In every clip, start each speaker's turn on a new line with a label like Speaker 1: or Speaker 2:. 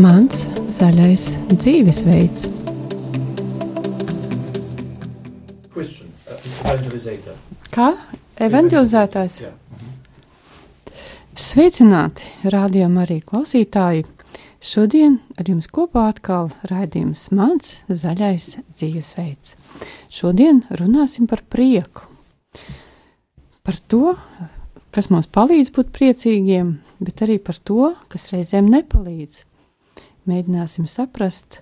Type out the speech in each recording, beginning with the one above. Speaker 1: Mans zaļais dzīvesveids.
Speaker 2: Christian, uh, evangelizator.
Speaker 1: Kā evanģelizētājs?
Speaker 2: Yeah.
Speaker 1: Sveicināti, rādījumā arī klausītāji! Šodien ar jums kopā atkal raidījums Mans zaļais dzīvesveids. Šodien runāsim par prieku. Par to, kas mums palīdz būt priecīgiem, bet arī par to, kas reizēm nepalīdz. Mēģināsim saprast,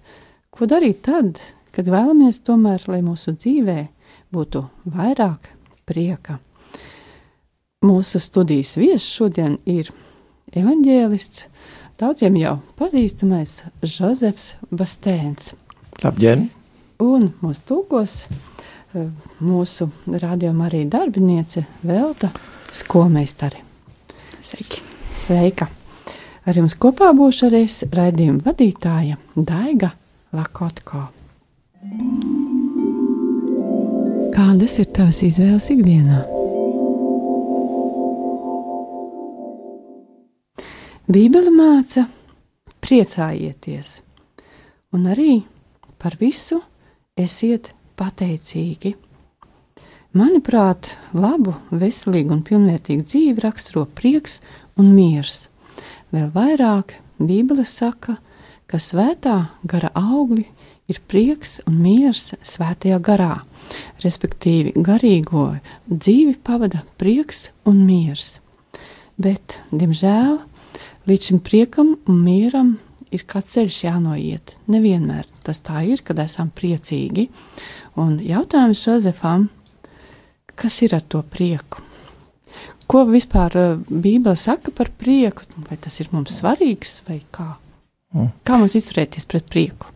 Speaker 1: ko darīt tad, kad vēlamies tomēr, lai mūsu dzīvē būtu vairāk prieka. Mūsu studijas viesis šodien ir evanģēlists, daudziem jau pazīstamais Jozefs Bastēns.
Speaker 2: Labdien!
Speaker 1: Un mūsu tūkos eh, mūsu rādījuma arī darbiniece Velta Skomeistari. Sveiki! Sveika! Ar jums kopā būšu arī es raidījuma vadītāja Daiga Lakotko. Kādas ir tavas izvēles ikdienā? Bībele māca priecājieties, un arī par visu esiet pateicīgi. Manuprāt, labu, veselīgu un pilnvērtīgu dzīvi raksturo prieks un miers. Vēl vairāk Bībele saka, ka svētā gara augļi ir prieks un miers svētajā garā, respektīvi garīgo dzīvi pavada prieks un miers. Bet, diemžēl, līdz šim priekam un mieram ir kāds ceļš jānoiet. Nevienmēr tas tā ir, kad esam priecīgi. Un jautājums Jozefam, kas ir ar to prieku? Ko vispār eh, Bībele saka par prieku? Vai tas ir mums svarīgs vai kā?
Speaker 3: Mm.
Speaker 1: Kā mums izturēties pret prieku?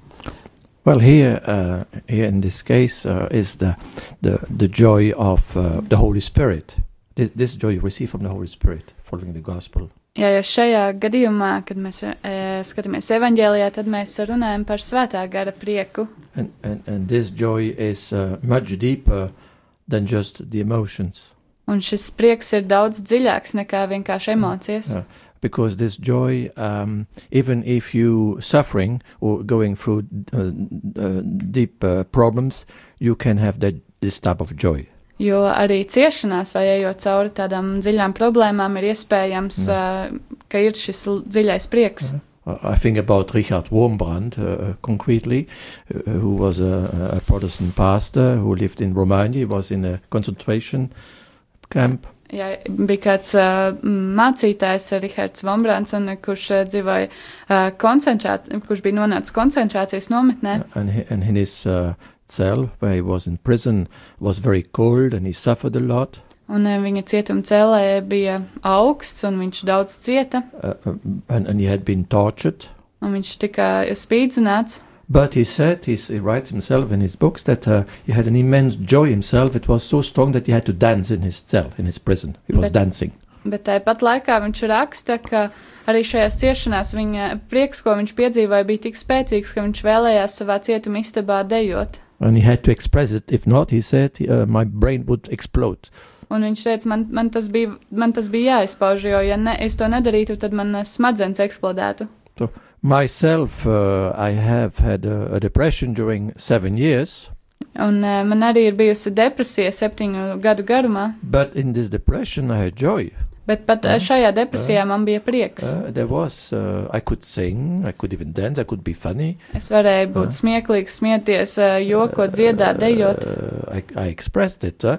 Speaker 3: Well, here, uh, here in this case, uh, is the, the, the joy of uh, the Holy Spirit. This, this joy you receive from the Holy Spirit, following the gospel.
Speaker 4: Jā, ja šajā gadījumā, kad mēs e, skatāmies evanģēlijā, tad mēs runājam par svētā gara prieku.
Speaker 3: And, and, and this joy is uh, much deeper than just the emotions,
Speaker 4: Un šis prieks ir daudz dziļāks nekā vienkārši emocijas.
Speaker 3: Jā. because this joy, um, even if you suffering or going through uh, uh, deep uh, problems, you can have that this type of joy.
Speaker 4: Jo arī ciešanās, vai ejot cauri tādām dziļām problēmām, ir iespējams, e, ka ir šis l- dziļais prieks.
Speaker 3: Uh, I think about Richard Wormbrand uh, concretely, uh, who was a, a Protestant pastor who lived in Romania, was in a concentration camp.
Speaker 4: Jā, bija kāds uh, mācītājs, Rahards Vombrāns, un, eh, kurš uh, dzīvoja uh, koncentrācijā, kurš bija nonācis koncentrācijas nometnē.
Speaker 3: And, he, and in his uh, cell, where he was in prison, was very cold and he suffered a lot.
Speaker 4: Un eh, viņa cietuma cellē bija augsts, un viņš daudz cieta,
Speaker 3: Uh, uh, and, and he had been tortured.
Speaker 4: un viņš tika spīdzināts.
Speaker 3: But he said, he's, he writes himself in his books, that uh, he had an immense joy himself. It was so strong that he had to dance in his cell, in his prison. He was
Speaker 4: But-
Speaker 3: dancing.
Speaker 4: Bet tāpat laikā viņš raksta, ka arī šajās ciešanās viņa prieks, ko viņš piedzīvoja, bija tik spēcīgs, ka viņš vēlējās savā cietuma istabā dejot.
Speaker 3: And he had to express it. If not, he said, uh, my brain would explode.
Speaker 4: Un viņš teica, man, man, tas bija, man tas bija jāizpauž, jo, ja ne, es to nedarītu, tad man eh, smadzenes eksplodētu.
Speaker 3: Myself, uh, I have had a, a depression during seven years,
Speaker 4: Un eh, man arī ir bijusi depresija septiņu gadu garumā,
Speaker 3: but in this depression I had joy.
Speaker 4: bet pat eh, šajā depresijā man bija prieks.
Speaker 3: Uh, there was, uh, I could sing, I could even dance, I could be funny.
Speaker 4: Es varēju būt smieklīgs, smieties, eh, jokot, dziedāt, dejot.
Speaker 3: Uh, I, I expressed it, uh,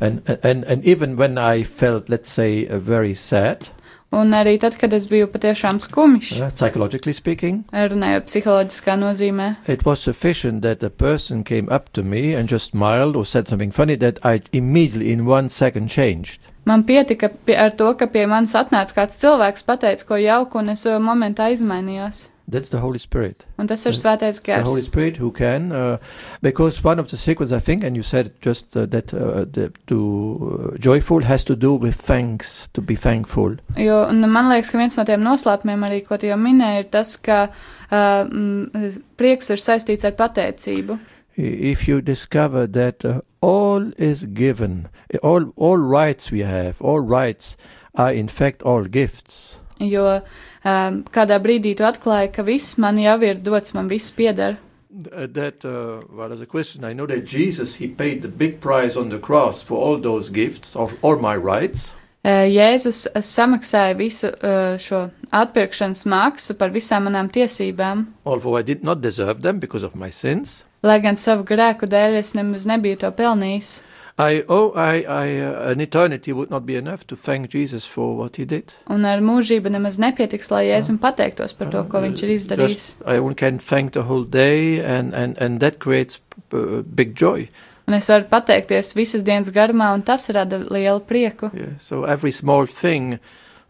Speaker 3: and and and even when I felt, let's say, uh, very sad,
Speaker 4: Un arī tad, kad es biju patiešām skumjš,
Speaker 3: uh, psychologically speaking,
Speaker 4: runājot psiholoģiskā nozīmē,
Speaker 3: it was sufficient that a person came up to me and just smiled or said something funny that I immediately, in one second, changed.
Speaker 4: man pietika pie, ar to, ka pie manis atnāca kāds cilvēks, pateica, ko jauku, un es eh, momentā izmainījos.
Speaker 3: That's the Holy Spirit.
Speaker 4: Un tas ir
Speaker 3: Tas-
Speaker 4: svētais
Speaker 3: the Holy
Speaker 4: gars.
Speaker 3: Spirit who can, uh, because one of the secrets I think, and you said it just uh, that uh, the, to uh, joyful has to do with thanks, to be thankful.
Speaker 4: Jo, un man liekas, ka viens no tiem noslēpumiem, arī, ko tu jau minēji, ir tas, ka uh, mm, prieks ir saistīts ar pateicību.
Speaker 3: I- If you discover that uh, all is given, all all rights we have, all rights are in fact all gifts.
Speaker 4: Jo um, kādā brīdī tu atklāji, ka viss man jau ir dots, man viss pieder.
Speaker 3: Uh, that uh, well, as a question, I know that Jesus he paid the big price on the cross for all those gifts of all my rights.
Speaker 4: Eh, Jēzus eh, samaksāja visu eh, šo atpirkšanas maksu par visām manām tiesībām,
Speaker 3: Although I did not deserve them because of my sins,
Speaker 4: lai gan savu grēku dēļ es nemaz nebiju to pelnījis.
Speaker 3: I oh I, I uh, an eternity would not be enough to thank Jesus for what he did.
Speaker 4: Un ar mūžību nemaz nepietiks, lai Jēzum pateiktos par to, ko
Speaker 3: Uh,
Speaker 4: viņš ir
Speaker 3: just-
Speaker 4: izdarījis.
Speaker 3: I only can thank the whole day, and and and that creates uh, big joy.
Speaker 4: Un es varu pateikties visas dienas garumā, un tas rada lielu prieku.
Speaker 3: Yeah. So every small thing,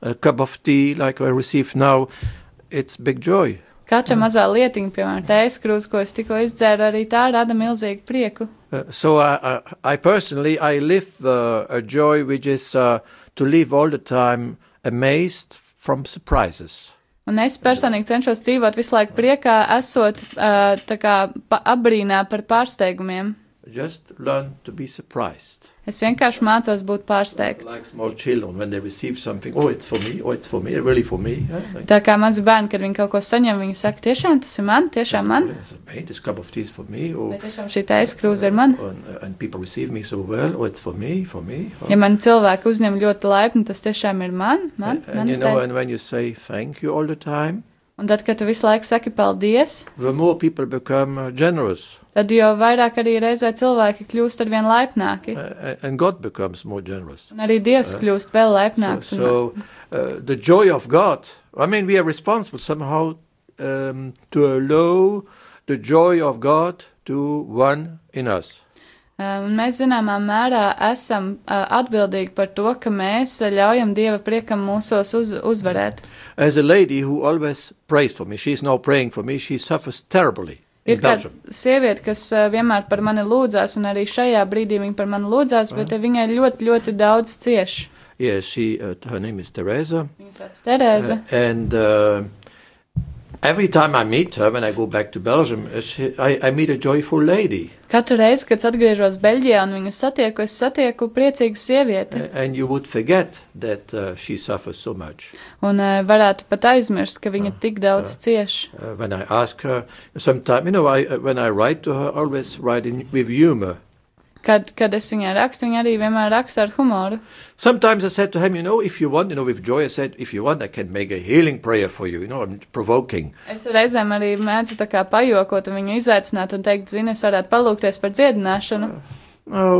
Speaker 3: a cup of tea like I receive now, it's big joy.
Speaker 4: Katra mazā lietiņa, piemēram, tējas krūze, ko es tikko izdzēru, arī tā rada milzīgu prieku.
Speaker 3: Uh, so I, I, I personally I live uh, a joy which is uh, to live all the time amazed from surprises.
Speaker 4: Un es personīgi cenšos dzīvot visu laiku priekā, esot uh, tā kā pa- apbrīnā par pārsteigumiem.
Speaker 3: Just learn to be surprised.
Speaker 4: Es vienkārši mācos būt pārsteigts.
Speaker 3: Like small children when they receive something, oh it's for me, oh it's for me, really for me. eh? Like,
Speaker 4: Tā kā mazi bērni, kad viņi kaut ko saņem, viņi saka, tiešām tas ir man, tiešām man.
Speaker 3: yes, mate, this cup of tea is for me. Or, "Oh,
Speaker 4: Vai tiešām šī tējas krūze ir man?
Speaker 3: And, uh, and people receive me so well, oh it's for me, for me. for-
Speaker 4: Ja man cilvēki uzņem ļoti laipni, tas tiešām ir man, man,
Speaker 3: and, and you
Speaker 4: manas
Speaker 3: know,
Speaker 4: dēļ.
Speaker 3: and when you say thank you all the time,
Speaker 4: Un tad, kad tu visu laiku saki paldies,
Speaker 3: the more people become uh, generous,
Speaker 4: tad jo vairāk arī reizē cilvēki kļūst ar vien laipnāki.
Speaker 3: uh, and God becomes more generous.
Speaker 4: Un arī Dievs kļūst vēl
Speaker 3: So,
Speaker 4: laipnāks. un-
Speaker 3: so uh, the joy of God. I mean, we are responsible somehow um, to allow the joy of God to run in us.
Speaker 4: Uh, Un mēs zināmā mērā esam uh, atbildīgi par to, ka mēs uh, ļaujam Dieva priekam mūsos uz, uzvarēt.
Speaker 3: As a lady who always prays for me, she's now praying for me. She suffers terribly in
Speaker 4: Ir kāda
Speaker 3: Belgium.
Speaker 4: sieviete, kas uh, vienmēr par mani lūdzās, un arī šajā brīdī viņa par mani lūdzās, bet uh, viņai ļoti, ļoti daudz cieš.
Speaker 3: Yes, she. Uh, her name is Teresa.
Speaker 4: Viņa sauc Terēza.
Speaker 3: Uh, and uh, every time I meet her, when I go back to Belgium, uh, she, I, I meet a joyful lady.
Speaker 4: Katru reizi, kad es atgriežos Beļģijā un viņu satieku, es satieku priecīgu sievieti.
Speaker 3: A- And you would forget that uh, she suffers so much.
Speaker 4: Un uh, varētu pat aizmirst, ka viņa tik daudz cieš.
Speaker 3: Uh, when I ask her, sometimes, you know, I, uh, when I write to her, I always write in, with humor.
Speaker 4: Kad, kad es viņai rakstu, viņa arī vienmēr raksta ar humoru.
Speaker 3: Sometimes I said to him, you know, if you want, you know, with joy, I said, if you want, I can make a healing prayer for you. You know, I'm provoking.
Speaker 4: Es reizēm arī mēdzu tā kā pajokot un viņu izaicināt un teikt, zini, es varētu palūgties par dziedināšanu.
Speaker 3: No,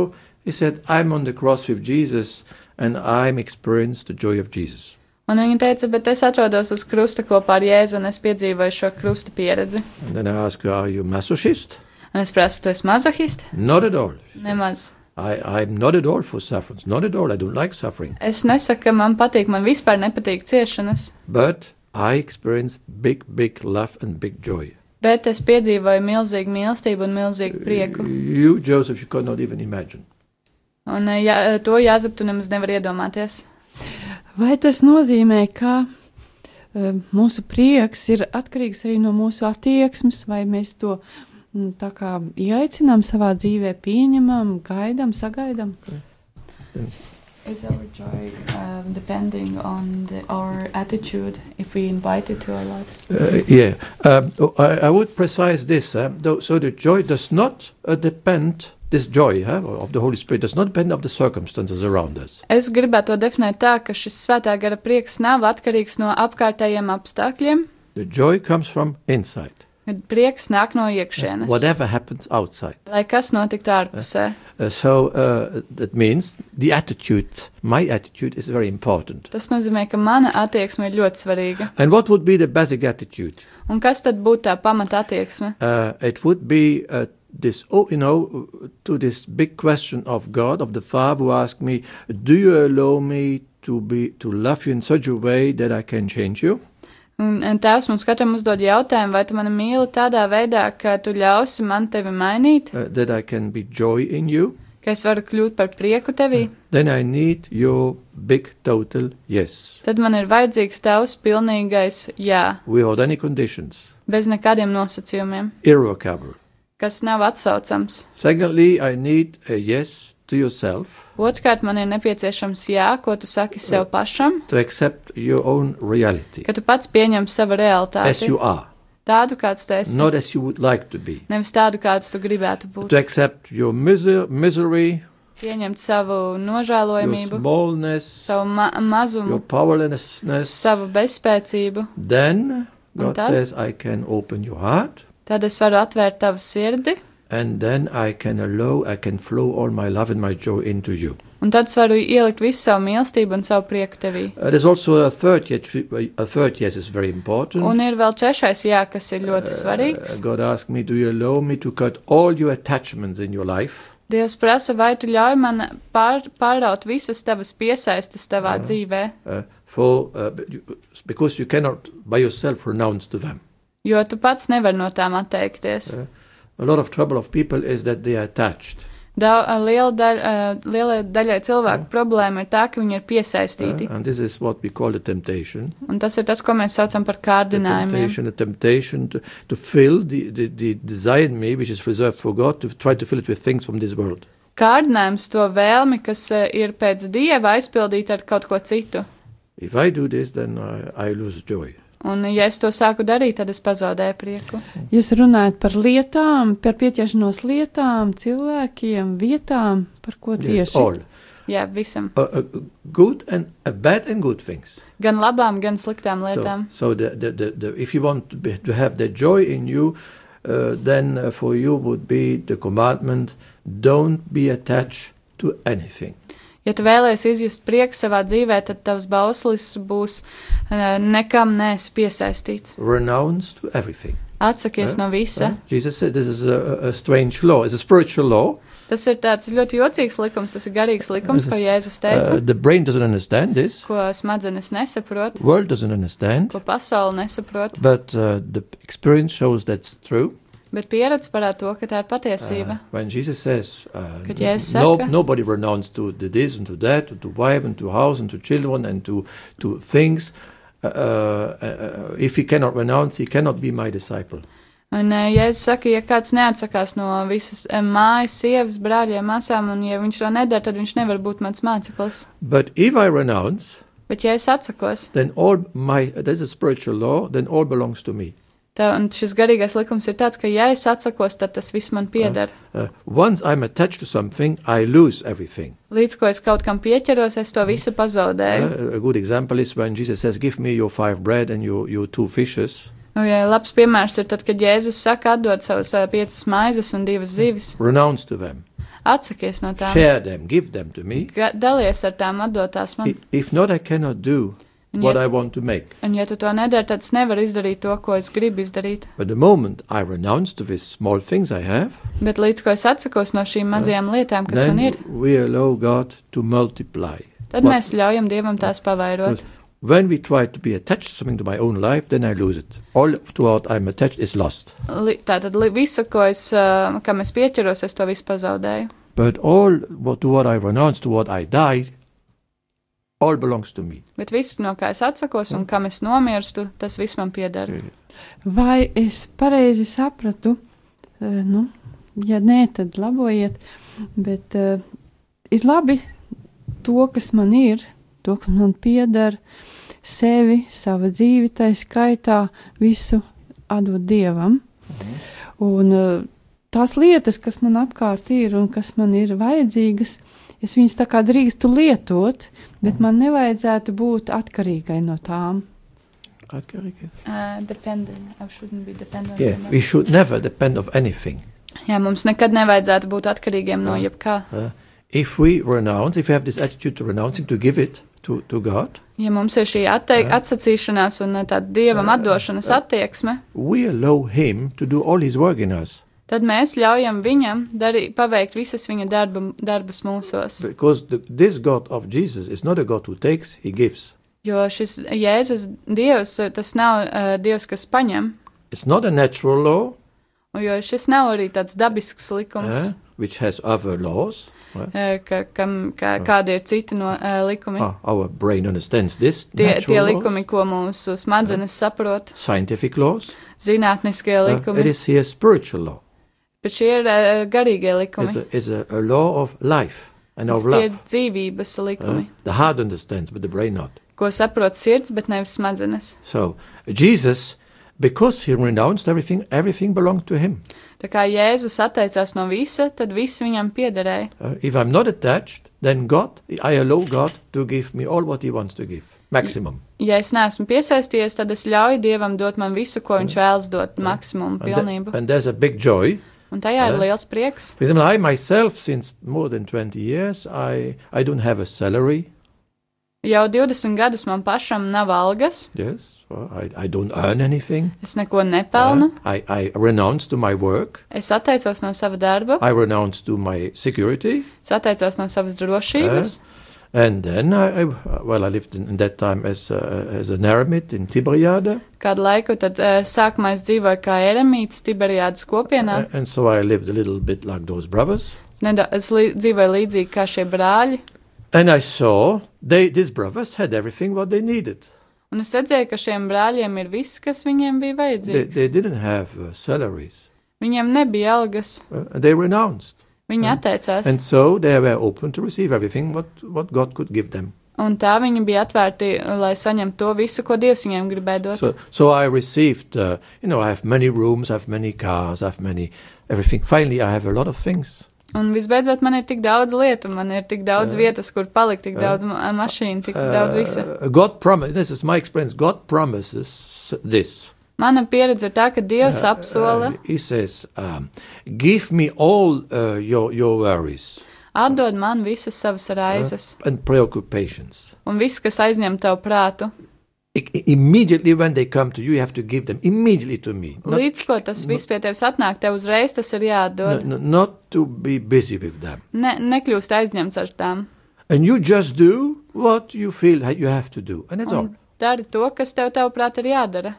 Speaker 3: he said, I'm on the cross with Jesus and I'm experienced the joy of Jesus.
Speaker 4: Un viņa teica, bet es atrodos uz krusta kopā ar Jēzu un es piedzīvoju šo krusta pieredzi.
Speaker 3: And then I ask her, are you masochist?
Speaker 4: Un es prasu, tu esi mazohists?
Speaker 3: Not at all.
Speaker 4: Nemaz.
Speaker 3: I, I'm not at all for sufferance. Not at all. I don't like suffering.
Speaker 4: Es nesaku, ka man patīk, man vispār nepatīk ciešanas,
Speaker 3: But I experience big, big love and big joy.
Speaker 4: bet es piedzīvoju milzīgu mīlestību un milzīgu prieku.
Speaker 3: You, Joseph, you cannot even imagine.
Speaker 4: Un eh, jā, eh, to jāsap, tu nemaz nevar iedomāties.
Speaker 1: Vai tas nozīmē, ka eh, mūsu prieks ir atkarīgs arī no mūsu attieksmes, vai mēs to mm, tā kā ieaicinām savā dzīvē, pieņemam, gaidām, sagaidām?
Speaker 4: Is our joy um, depending on the, our attitude if we invite it to our lives?
Speaker 3: Uh, yeah. Um, oh, I, I would precise this. eh, though, so the joy does not uh, depend, this joy eh, of the Holy Spirit does not depend on the circumstances around us.
Speaker 4: Es gribētu to definēt tā, ka šis svētā gara prieks nav atkarīgs no apkārtējiem apstākļiem,
Speaker 3: The joy comes from inside,
Speaker 4: kad prieks nāk no iekšienes.
Speaker 3: whatever happens outside.
Speaker 4: Lai kas notiktu ārpusē.
Speaker 3: Uh, so uh, that means the attitude, my attitude is very important.
Speaker 4: Tas nozīmē, ka mana attieksme ir ļoti svarīga.
Speaker 3: And what would be the basic attitude?
Speaker 4: Un kas tad būtu tā pamata attieksme?
Speaker 3: Uh, it would be uh, this, oh, you know, to this big question of God, of the Father, who asked me, "Do you allow me to be to love you in such a way that I can change you?"
Speaker 4: Un un tēvs mums katram uzdod jautājumu, vai tu mani mīli tādā veidā, ka tu ļausi man tevi mainīt,
Speaker 3: Uh, that I can be joy in you,
Speaker 4: ka es varu kļūt par prieku tevī.
Speaker 3: then I need your big total yes,
Speaker 4: Tad man ir vajadzīgs tavs pilnīgais jā,
Speaker 3: without any conditions,
Speaker 4: bez nekādiem nosacījumiem,
Speaker 3: irrevocable.
Speaker 4: kas nav atsaucams.
Speaker 3: Secondly, I need a yes to yourself,
Speaker 4: Otrkārt, man ir nepieciešams jā, ko tu saki sev pašam,
Speaker 3: to accept your own reality
Speaker 4: ka tu pats pieņem savu
Speaker 3: as
Speaker 4: realitāti
Speaker 3: you are,
Speaker 4: tādu, kāds tu esi,
Speaker 3: not as you would like to be.
Speaker 4: nevis tādu, kāds tu gribētu būt.
Speaker 3: To accept your miser- misery,
Speaker 4: Pieņemt savu
Speaker 3: your
Speaker 4: nožēlojamību,
Speaker 3: smallness,
Speaker 4: savu ma
Speaker 3: your
Speaker 4: mazumu,
Speaker 3: powerlessness.
Speaker 4: savu bezspēcību,
Speaker 3: Then God
Speaker 4: tad?
Speaker 3: says, I can open your heart,
Speaker 4: tad es varu atvērt tavu sirdi,
Speaker 3: and then I can allow, I can flow all my love and my joy into you.
Speaker 4: un tad es varu ielikt visu savu mīlestību un savu prieku tevī.
Speaker 3: Uh, there's also a third yes, a third yes is very important.
Speaker 4: Un ir vēl trešais jā, kas ir ļoti
Speaker 3: Uh,
Speaker 4: svarīgs.
Speaker 3: God asked me, Do you allow me to cut all your attachments in your life?
Speaker 4: Dievs prasa, vai tu ļauj man pār, pāraut visas tavas piesaistes tavā dzīvē,
Speaker 3: Uh, for uh, b- you- because you cannot by yourself renounce to them.
Speaker 4: jo tu pats nevari no tām atteikties.
Speaker 3: A lot of trouble of people is that they are attached. uh,
Speaker 4: Dau- Liela daļ, eh, lielai daļai cilvēku problēma ir tā, ka viņi ir piesaistīti.
Speaker 3: and this is what we call the temptation.
Speaker 4: Un tas ir tas, ko mēs saucam par
Speaker 3: The
Speaker 4: kārdinājumiem.
Speaker 3: temptation, the temptation to, to fill the, the, the desire in me, which is reserved for God, to try to fill it with things from this world.
Speaker 4: Kārdinājums to vēlmi, kas eh, ir pēc dieva aizpildīta ar kaut ko citu.
Speaker 3: If I do this, then I, I lose joy.
Speaker 4: Un, ja es to sāku darīt, tad es pazaudēju prieku.
Speaker 1: Jūs runājat par lietām, par pieķeršanos lietām, cilvēkiem, vietām, par ko
Speaker 3: Yes,
Speaker 1: tieši
Speaker 3: all.
Speaker 4: Jā, visam.
Speaker 3: Uh, uh, good and uh, bad and good things.
Speaker 4: Gan labām, gan sliktām
Speaker 3: So,
Speaker 4: lietām.
Speaker 3: so the, the, the, the, if you want to, be, to have that joy in you, uh, then uh, for you would be the commandment don't be attached to anything.
Speaker 4: Ja tu vēlēsies izjust prieku savā dzīvē, tad tavs bauslis būs eh, nekam nesi piesaistīts.
Speaker 3: Renounce to everything.
Speaker 4: Atsakies
Speaker 3: Eh?
Speaker 4: no visa.
Speaker 3: Huh? Jesus said this is a, a- a strange law, it's a spiritual law.
Speaker 4: Tas ir tāds ļoti jocīgs likums, tas ir garīgs likums,
Speaker 3: Es
Speaker 4: ko
Speaker 3: esmu-
Speaker 4: Jēzus
Speaker 3: Uh,
Speaker 4: teica,
Speaker 3: the brain doesn't understand this,
Speaker 4: ko smadzenes nesaprot,
Speaker 3: world doesn't understand,
Speaker 4: ko pasaule nesaprot,
Speaker 3: but uh, the experience shows that's true.
Speaker 4: bet pieredze parāda to, ka tā ir
Speaker 3: Uh,
Speaker 4: patiesība.
Speaker 3: when Jesus says, uh,
Speaker 4: Kad Jēzus
Speaker 3: no,
Speaker 4: saka-
Speaker 3: nobody renounced to the this and to that, to wife and to house and to children and to, to things, uh, uh, uh, if he cannot renounce, he cannot be my disciple.
Speaker 4: Un eh, Jēzus saka, ja kāds neatsakās no visas eh, mājas, sievas, brāļiem, māsām, un ja viņš to nedara, tad viņš nevar būt mans māceklis.
Speaker 3: But if I renounce,
Speaker 4: Bet ja es atsakos,
Speaker 3: then all my, there's a spiritual law, then all belongs to me.
Speaker 4: tad šis garīgais likums ir tāds, ka ja es atsakos, tad tas viss man pieder.
Speaker 3: Uh, once I'm attached to something, I lose everything.
Speaker 4: Līdz ko es kaut kam pieķeros, es to visu pazaudēju.
Speaker 3: Uh, a good example is when Jesus says, Give me your five bread and your, your two fishes.
Speaker 4: Nu, ja labs piemērs ir tad, kad Jēzus saka, atdod savus eh, piecas maizes un divas zivis.
Speaker 3: Renounce to them,
Speaker 4: Atsakies no tām.
Speaker 3: share them, give them to me.
Speaker 4: Ga- Dalies ar tām atdotās
Speaker 3: I-
Speaker 4: man.
Speaker 3: If not, I cannot do
Speaker 4: Un
Speaker 3: what
Speaker 4: ja,
Speaker 3: I want to make.
Speaker 4: un ja tu to nedari, tad es nevaru izdarīt to, ko es gribu izdarīt.
Speaker 3: But the moment I renounce to these small things I have,
Speaker 4: Bet līdz ko es atsakos no šīm mazajām lietām, kas man ir,
Speaker 3: then we allow God to multiply.
Speaker 4: tad
Speaker 3: what-
Speaker 4: mēs ļaujam Dievam tās pavairot.
Speaker 3: Because When we try to be attached to something to my own life, then I lose it. All to what I'm attached is lost.
Speaker 4: Li, tātad li, visu, ko es, ā, kam es pieķeros, es to visu pazaudēju.
Speaker 3: But all what, to what I renounce, to what I die, all belongs to me.
Speaker 4: Bet viss, no kā es atsakos un kam es nomirstu, tas viss man pieder.
Speaker 1: Vai es pareizi sapratu, eh, nu, ja nē, tad labojiet, bet eh, ir labi to, kas man ir, to, kas man pieder, sevi, savu dzīvi, tā skaitā, visu atdot dievam. Un eh, tās lietas, kas man apkārt ir un kas man ir vajadzīgas, es viņas tā kā drīkstu lietot, bet
Speaker 3: Mhm.
Speaker 1: man nevajadzētu būt atkarīgai no tām.
Speaker 4: Uh, dependent. I shouldn't be dependent
Speaker 3: Yeah,
Speaker 4: on
Speaker 3: we
Speaker 4: that.
Speaker 3: should never depend on anything.
Speaker 4: Jā, mums nekad nevajadzētu būt atkarīgiem no
Speaker 3: Jā.
Speaker 4: jebkā.
Speaker 3: If we renounce, if we have this attitude to renouncing, to give it to, to God,
Speaker 4: Ja mums ir šī atteik,
Speaker 3: Jā.
Speaker 4: atsacīšanās un eh, tāda dievam atdošanas attieksme,
Speaker 3: we allow Him to do all His work in us.
Speaker 4: tad mēs ļaujam viņam darī, paveikt visas viņa darba, darbus mūsos.
Speaker 3: Because the, this God of Jesus is not a God who takes, He gives.
Speaker 4: Jo šis Jēzus dievs, eh, tas nav uh, dievs, kas paņem,
Speaker 3: It's not a natural law,
Speaker 4: un jo šis nav arī tāds dabisks likums,
Speaker 3: eh, which has other laws. eh.
Speaker 4: eh, ka, kam, ka, kādi ir citi no uh, likumi.
Speaker 3: Ah, our brain understands this.
Speaker 4: Tie, tie
Speaker 3: natural laws,
Speaker 4: likumi, ko mūsu smadzenes saprot,
Speaker 3: scientific laws.
Speaker 4: zinātniskie
Speaker 3: eh. it
Speaker 4: likumi,
Speaker 3: is here spiritual law.
Speaker 4: bet šie ir eh, garīgie likumi.
Speaker 3: It's, a, it's a, a law of life. and of
Speaker 4: Tie ir
Speaker 3: love.
Speaker 4: dzīvības likumi,
Speaker 3: huh? The heart understands, but the brain not.
Speaker 4: ko saprot sirds, bet nevis smadzenes.
Speaker 3: So Jesus, because he renounced everything, everything belonged to him.
Speaker 4: Tā kā Jēzus atteicās no visa, tad viss viņam piederēja.
Speaker 3: Uh, if I'm not attached, then God, I allow God to give me all what He wants to give, maximum.
Speaker 4: Ja es neesmu piesaistījies, tad es ļauju Dievam dot man visu, ko Viņš vēlas dot, maksimumu,
Speaker 3: And, tha-
Speaker 4: pilnību.
Speaker 3: and there's a big joy.
Speaker 4: Un tajā ir
Speaker 3: Jā.
Speaker 4: liels prieks.
Speaker 3: For example, I myself, since more than 20 years, I, I don't have a salary.
Speaker 4: Jau 20 gadus man pašam nav algas,
Speaker 3: Yes, or I, I don't earn anything.
Speaker 4: es neko nepelnu,
Speaker 3: Uh, I, I renounce to my work.
Speaker 4: es atteicos no sava darba,
Speaker 3: I renounce to my security.
Speaker 4: es atteicos no savas drošības.
Speaker 3: And then I, I well, I lived in, in that time as uh, as an hermit in Tiberiade,
Speaker 4: Kādu laiku tad eh, sākumā es dzīvoju kā eremīts Tiberijādas kopienā.
Speaker 3: uh, and so I lived a little bit like those brothers.
Speaker 4: Es, nedā, es lī, dzīvoju līdzīgi kā šie brāļi,
Speaker 3: And I saw they these brothers had everything what they needed.
Speaker 4: un es redzēju, ka šiem brāļiem ir viss, kas viņiem bija
Speaker 3: They, they
Speaker 4: vajadzīgs.
Speaker 3: didn't have uh, salaries.
Speaker 4: Viņiem nebija algas,
Speaker 3: Uh, they renounced,
Speaker 4: viņi
Speaker 3: Mm.
Speaker 4: atteicās.
Speaker 3: and so they were open to receive everything what, what God could give them.
Speaker 4: Un tā viņi bija atvērti, lai saņemtu to visu, ko Dievs viņiem gribēja dot. So,
Speaker 3: So, so I received, uh, you know, I have many rooms, I have many cars, I have many everything. Finally, I have a lot of things.
Speaker 4: un visbeidzot, man ir tik daudz lietu, man ir tik daudz
Speaker 3: Jā.
Speaker 4: vietas, kur palikt, tik
Speaker 3: Jā.
Speaker 4: daudz ma- mašīnu, tik daudz visa.
Speaker 3: Uh, God promised. This is my experience. God promises this.
Speaker 4: Mana pieredze ir tā, ka Dievs
Speaker 3: Uh,
Speaker 4: apsola
Speaker 3: uh, he says, um, "Give me all uh, your your worries
Speaker 4: atdod man visas savas raizes
Speaker 3: and preoccupations."
Speaker 4: un viss, kas aizņem tev prātu.
Speaker 3: I- i- immediately when they come to you, you have to give them immediately to me. Not,
Speaker 4: Līdz ko tas viss pie tevis atnāk, tev uzreiz tas ir jāatdod.
Speaker 3: n- n- not to be busy with them.
Speaker 4: Ne, nekļūst aizņemts ar tām.
Speaker 3: And you just do what you feel that you have to do, and that's all.
Speaker 4: Un dari to, kas tev, tavuprāt, ir jādara.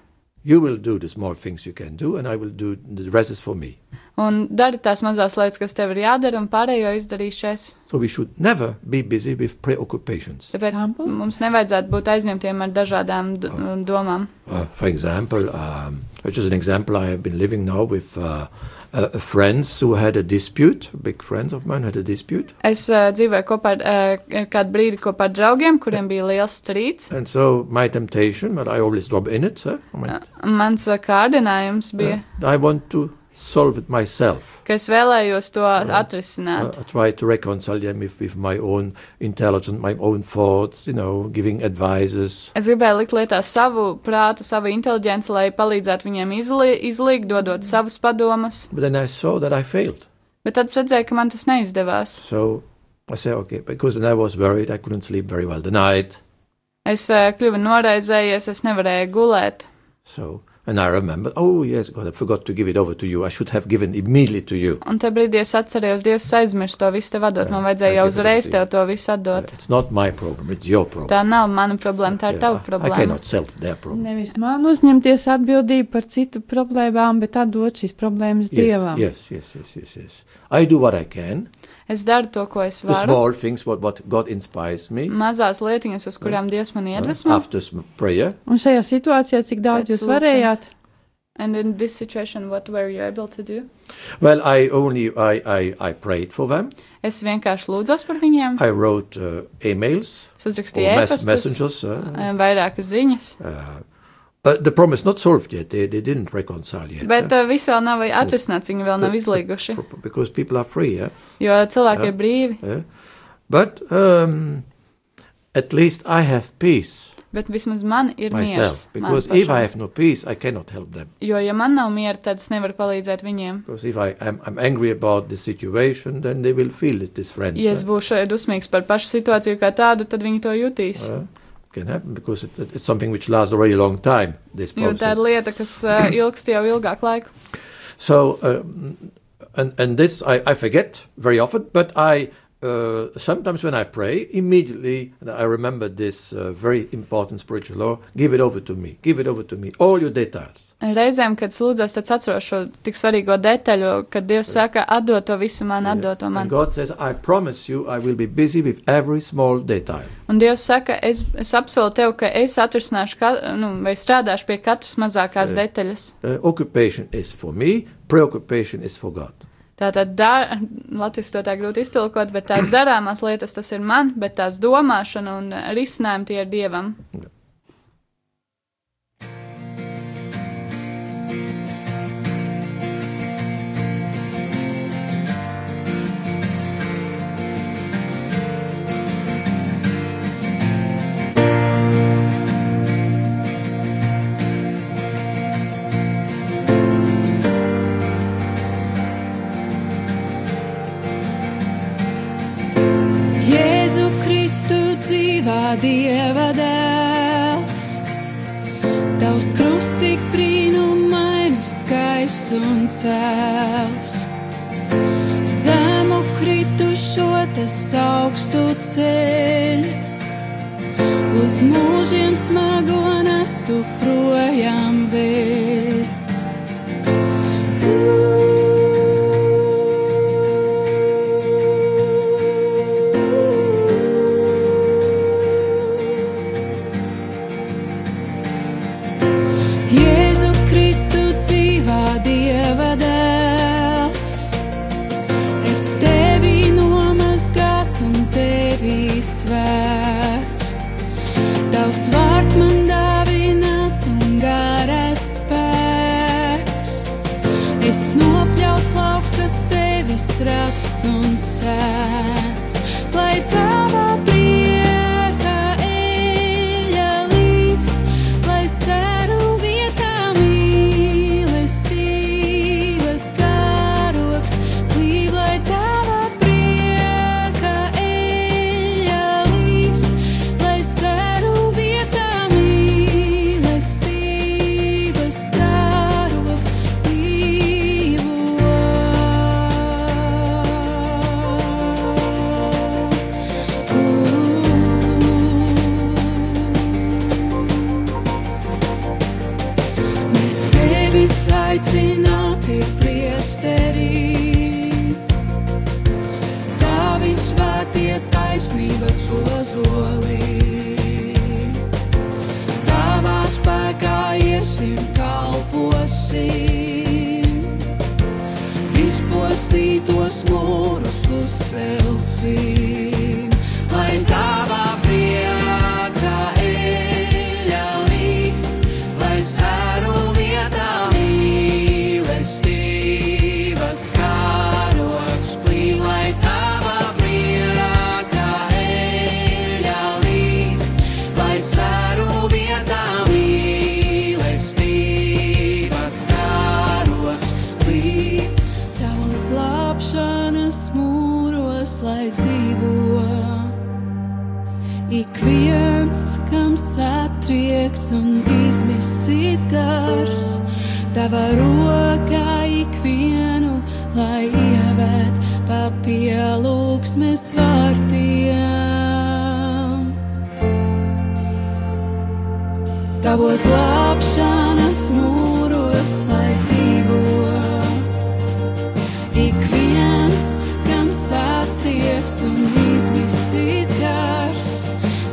Speaker 3: You will do the small things you can do, and I will do the rest is for me.
Speaker 4: Un dari tās mazās lietas, kas tev ir jādara, un pārējo izdarīšies.
Speaker 3: So we should never be busy with preoccupations.
Speaker 4: Tāpēc
Speaker 1: Example?
Speaker 4: mums nevajadzētu būt aizņemtiem ar dažādām d- domām.
Speaker 3: Uh, for example, um, which is an example I have been living now with uh, uh, friends who had a dispute, big friends of mine had a dispute.
Speaker 4: Es uh, dzīvoju kopā ar uh, kādu brīdi kopā ar draugiem, kuriem bija liels strīds.
Speaker 3: And so my temptation, but I always drop in it, huh? I, mean,
Speaker 4: Uh, Mans uh, kārdinājums bija,
Speaker 3: uh, I want to solve it myself.
Speaker 4: ka es vēlējos to
Speaker 3: Uh,
Speaker 4: atrisināt.
Speaker 3: I try to reconcile them with, with my own intelligence, my own thoughts, you know, giving advices.
Speaker 4: Es gribēju likt lietā savu prātu, savu inteliģenci, lai palīdzētu viņiem izli izlīgt, dodot savus padomus.
Speaker 3: But then I saw that I failed.
Speaker 4: Bet tad es redzēju, ka man tas neizdevās.
Speaker 3: So I said, okay, because then I was worried, I couldn't sleep very well the night.
Speaker 4: Es uh, kļuvu noraizējies, es nevarēju gulēt.
Speaker 3: So, and I remembered, oh yes, God, I forgot to give it over to you. I should have given immediately to you.
Speaker 4: Un te brīdī es atceros, Dievs aizmirst to visu tev atdot.
Speaker 3: Jā,
Speaker 4: Man vajadzēja
Speaker 3: tā
Speaker 4: jau
Speaker 3: ir
Speaker 4: uzreiz
Speaker 3: grūtība.
Speaker 4: tev to visu atdot.
Speaker 3: It's not my problem, it's your problem.
Speaker 4: Tā nav mana problēma, tā ir
Speaker 3: Yeah,
Speaker 4: tava
Speaker 3: I I
Speaker 4: problēma.
Speaker 3: cannot solve their problem.
Speaker 1: Nevis man uzņemties atbildību par citu problēmām, bet atdot šīs problēmas Dievam.
Speaker 3: Yes, yes, yes, yes, yes, yes. I do what I can.
Speaker 4: Es daru to, ko es
Speaker 3: The
Speaker 4: varu.
Speaker 3: small things, what, what God inspires me.
Speaker 4: Mazās lietiņas, uz kurām Dievs man
Speaker 3: uh,
Speaker 4: iedvesmo.
Speaker 3: after sm- prayer.
Speaker 1: Un šajā situācijā, cik daudz
Speaker 4: Pēc
Speaker 1: jūs varējāt,
Speaker 4: And in this situation, what were you able to do?
Speaker 3: Well, I only I, I, I prayed for them.
Speaker 4: Es vienkārši lūdzos par viņiem.
Speaker 3: I wrote uh, emails
Speaker 4: Es
Speaker 3: or
Speaker 4: uzrakstīju
Speaker 3: mess-
Speaker 4: ēpastus,
Speaker 3: messengers. Uh,
Speaker 4: eh, vairākas ziņas.
Speaker 3: uh, uh, the problem is not solved yet. They, they didn't reconcile yet.
Speaker 4: Bet
Speaker 3: uh,
Speaker 4: eh, viss vēl nav atrisināts, viņi vēl nav
Speaker 3: Tad-
Speaker 4: izlīguši,
Speaker 3: pro- because people are free. Yeah?
Speaker 4: jo cilvēki
Speaker 3: Jā.
Speaker 4: ir brīvi.
Speaker 3: Yeah? But um, at least I have peace
Speaker 4: Bet vismaz man ir miers.
Speaker 3: myself.
Speaker 4: man
Speaker 3: Because if I
Speaker 4: pašam.
Speaker 3: have no peace, I cannot help them.
Speaker 4: Jo, ja man nav miera, tad es nevaru palīdzēt viņiem.
Speaker 3: Because if I am I'm angry about the situation, then they will feel it, these friends.
Speaker 4: Ja es
Speaker 3: uh,
Speaker 4: būšu dusmīgs par pašu situāciju kā tādu, tad viņi to jutīs.
Speaker 3: uh, can happen because it, it's something which lasts already a long time. This
Speaker 4: Jo
Speaker 3: process.
Speaker 4: tā ir lieta, kas uh, ilgst jau ilgāku laiku.
Speaker 3: So, um, and, and this I, I forget very often, but I uh, sometimes when I pray, immediately and I remember this uh, very important spiritual law give it over to me, give it over to me, all your details.
Speaker 4: Reizēm, kad es lūdzos, tad es atceros šo tik svarīgo detaļu, kad Dievs saka, atdod to visu man, atdod to
Speaker 3: And
Speaker 4: man.
Speaker 3: God says, I promise you, I will be busy with every small detail.
Speaker 4: Un Dievs saka, es, es apsolu tev, ka es atrisināšu, ka, nu, vai strādāšu pie katras mazākās
Speaker 3: Jā.
Speaker 4: detaļas.
Speaker 3: Uh, occupation is for me, preoccupation is for God.
Speaker 4: Tātad, da, latviešu to tā grūti iztulkot, bet tās darāmās lietas tas ir man, bet tās domāšana un eh, risinājumi tie ir dievam.
Speaker 5: Jēzu Kristu dzīvā dieva dēls, tavs krusts tik brīnumaini skaists un cēls. Zemu kritušo tas augstu ceļ, uz mūžiem smago nastu projām vēl. Jēzu Kristu dzīvā Dieva dēls. Es tevi nomazgāts un tevi svēts. Tavs vārds man dāvināts un garas spēks. Es nopļauts lauks, kas tevis rasts un sēts. Lai tava prieka eļļa līst, lai sēru vietā mīlestības karoks klīv, lai tava prieka eļļa līst, lai sēru vietā mīlestības karoks Mēs tevi saicināti priesterī. Tavi svētie taisnības ozolī. Tavā spēkā iesim kalposim. Izpostītos mūrus uzcelsim. Lai tavā priekā eļļa līdz, lai sēru vietā mīlestības kāros plīv, lai tavā priekā eļļa līdz, lai sēru vietā mīlestības kāros plīv. Tavas glābšanas mūros, lai dzīvo Ik viens, kam satriekts un izmisis gars, tava rokā ikvienu, lai ievēt papielūgsmes vārtiem. Tavos glābšanas mūros, lai dzīvo. Ik viens, kam satriekts un izmisis gars,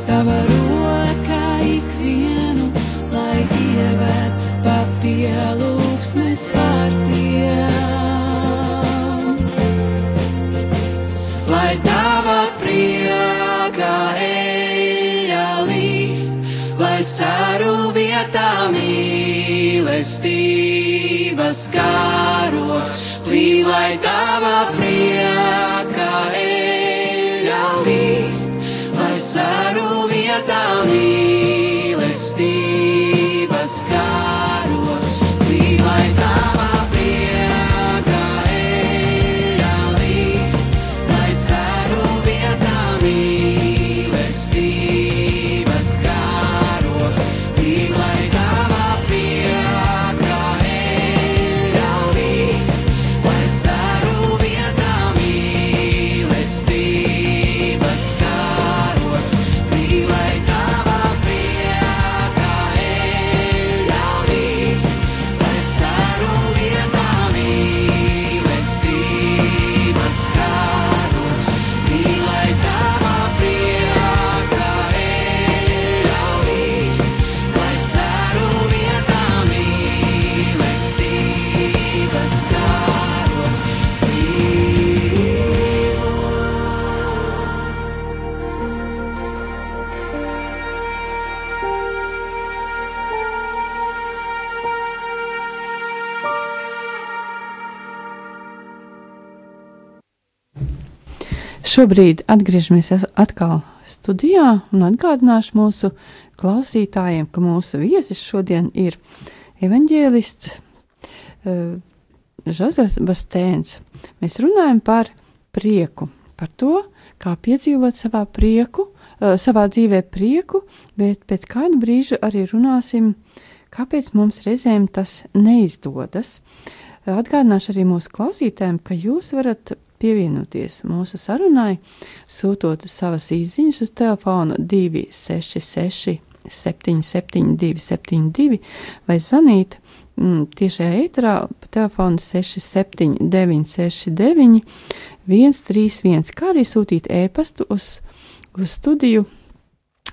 Speaker 5: tava roka ikvienu, lai ievērt papielūgsmes vārtiem. Lai tava prieka eļļa līst, lai sāru vietā mīlestības kāros, plīv, lai tava prieka eļļa līst, lai sāru vietā mīlestības kāros, plīv, lai tava prieka eļļa līst. Lai sēru vietā mīlestības kāros, tīk lai tava prieka eļļa līs. Lai sēru vietā mīlestības kāros, tīk lai tava prieka.
Speaker 1: Šobrīd atgriežamies as- atkal studijā un atgādināšu mūsu klausītājiem, ka mūsu viesis šodien ir evanģēlists uh, Žozefs Bastēns. Mēs runājam par prieku, par to, kā piedzīvot savā prieku, uh, savā dzīvē prieku, bet pēc kāda brīža arī runāsim, kāpēc mums reizēm tas neizdodas. Atgādināšu arī mūsu klausītājiem, ka jūs varat pievienoties mūsu sarunai, sūtot savas īsiņas uz telefonu 266, 772, 72 vai zvanīt mm, tiešajā ēterā pa telefonu 679, 69, 131, kā arī sūtīt ēpastu uz, uz studiju.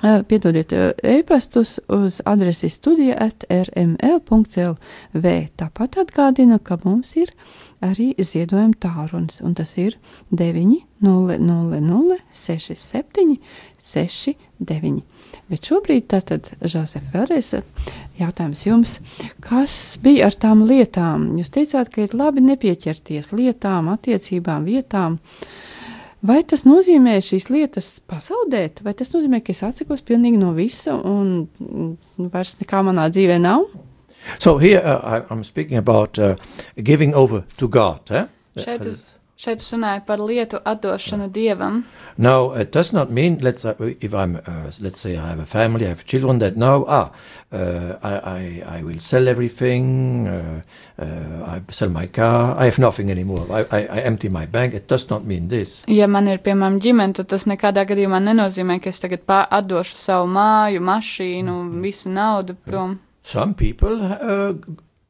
Speaker 1: eh, Piedodiet eh, ēpastus uz adresi studija at rml.lv. Tāpat atgādina, ka mums ir arī ziedojuma tālrunis, un tas ir 900-6769. Bet šobrīd, tātad, Žozef, vēlreiz eh, jautājums jums, kas bija ar tām lietām? Jūs teicāt, ka ir labi nepieķerties lietām, attiecībām, vietām. Vai tas nozīmē šīs lietas pasaudēt, vai tas nozīmē, ka es atsakos pilnīgi no visa un mm, vairs nekā manā dzīvē nav?
Speaker 3: So here uh, I, I'm speaking about uh, giving over to God. Eh?
Speaker 4: Šeit es, šeit es runāju par lietu atdošanu dievam.
Speaker 3: Now it does not mean let's uh, if I'm uh, let's say I have a family, I have children that now ah uh, I, I I will sell everything, uh, uh, I sell my car, I have nothing anymore. I, I, I empty my bank. It does not mean this.
Speaker 4: Ja man ir, piemēram, ģimene, tad tas nekādā gadījumā nenozīmē, ka es tagad pār- atdošu savu māju, mašīnu, visu naudu prom.
Speaker 3: Some people, uh, g-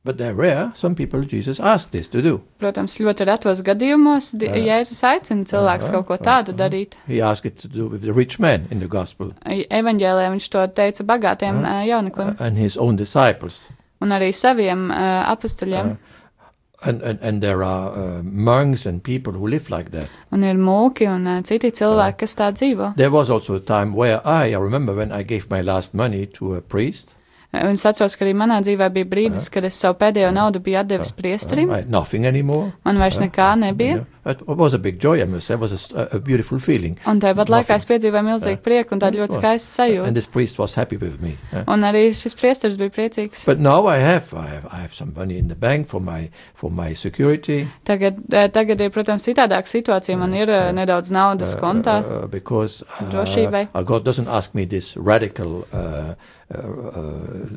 Speaker 3: but they're rare. Some people Jesus asked this to do.
Speaker 4: Protams, ļoti retos gadījumos di- Jēzus aicina cilvēks
Speaker 3: Jā,
Speaker 4: kaut ko tādu darīt.
Speaker 3: He asked it to do with the rich man in the gospel uh,
Speaker 4: Evanģēlē viņš to teica bagātiem Mhm. ā, jauneklim
Speaker 3: and his own disciples. uh,
Speaker 4: un arī saviem ā, apustuļiem.
Speaker 3: And, and, and there are uh, monks and people who live like that.
Speaker 4: Un ir mūki un ā, citi cilvēki, kas tā dzīvo.
Speaker 3: There was also a time where I, I remember when I gave my last money to a priest.
Speaker 4: Un es atceros, ka arī manā dzīvē bija brīdis, kad es savu pēdējo naudu biju atdevis priesterim.
Speaker 3: Uh, I had nothing anymore.
Speaker 4: Man vairs nekā
Speaker 3: you
Speaker 4: nebija.
Speaker 3: know. It was a big joy, I must say. It was a s- a, a beautiful feeling.
Speaker 4: Un tāpat laikā es piedzīvoju milzīgu prieku un tādu ļoti
Speaker 3: Well,
Speaker 4: skaistu sajūtu.
Speaker 3: And this priest was happy with me. eh.
Speaker 4: Un arī šis priesteris bija priecīgs.
Speaker 3: But now I have, I have, I have some money in the bank for my, for my security.
Speaker 4: Tagad, eh, tagad ir, protams, citādāka situācija. Man ir eh, nedaudz naudas
Speaker 3: uh,
Speaker 4: kontā.
Speaker 3: uh, because uh,
Speaker 4: Drošībai.
Speaker 3: uh, God doesn't ask me this radical uh, uh, uh,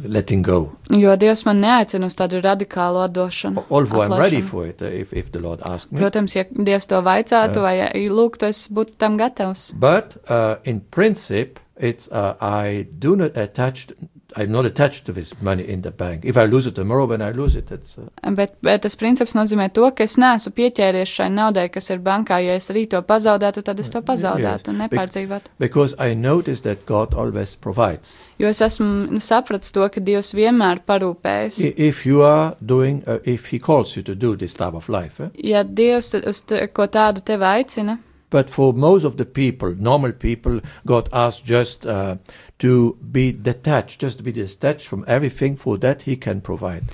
Speaker 3: letting go.
Speaker 4: Jo Dievs man neaicina uz tādu radikālu atdošanu.
Speaker 3: Although I'm ready
Speaker 4: atlaišanu.
Speaker 3: for it uh, if, if the Lord asks me.
Speaker 4: Protams, ja Dievs to vaicātu, vai ja lūgtu, es būtu tam gatavs.
Speaker 3: But uh, in principle, it's uh, I do not attach. I'm not attached to this money in the bank. If I lose it tomorrow, when I lose it, it's uh,
Speaker 4: Bet, bet tas princips nozīmē to, ka es neesmu pieķēries šai naudai, kas ir bankā. Ja es rīt to pazaudētu, tad es to pazaudētu un
Speaker 3: Yes.
Speaker 4: nepārdzīvotu.
Speaker 3: because I notice that God always provides.
Speaker 4: Jo es esmu sapratis to, ka Dievs vienmēr parūpējas.
Speaker 3: I- If you are doing, uh, if He calls you to do this type of life. eh?
Speaker 4: Ja Dievs uz te- ko tādu tevi aicina,
Speaker 3: But for most of the people, normal people, God asks just uh, to be detached, just to be detached from everything. For that, He can provide.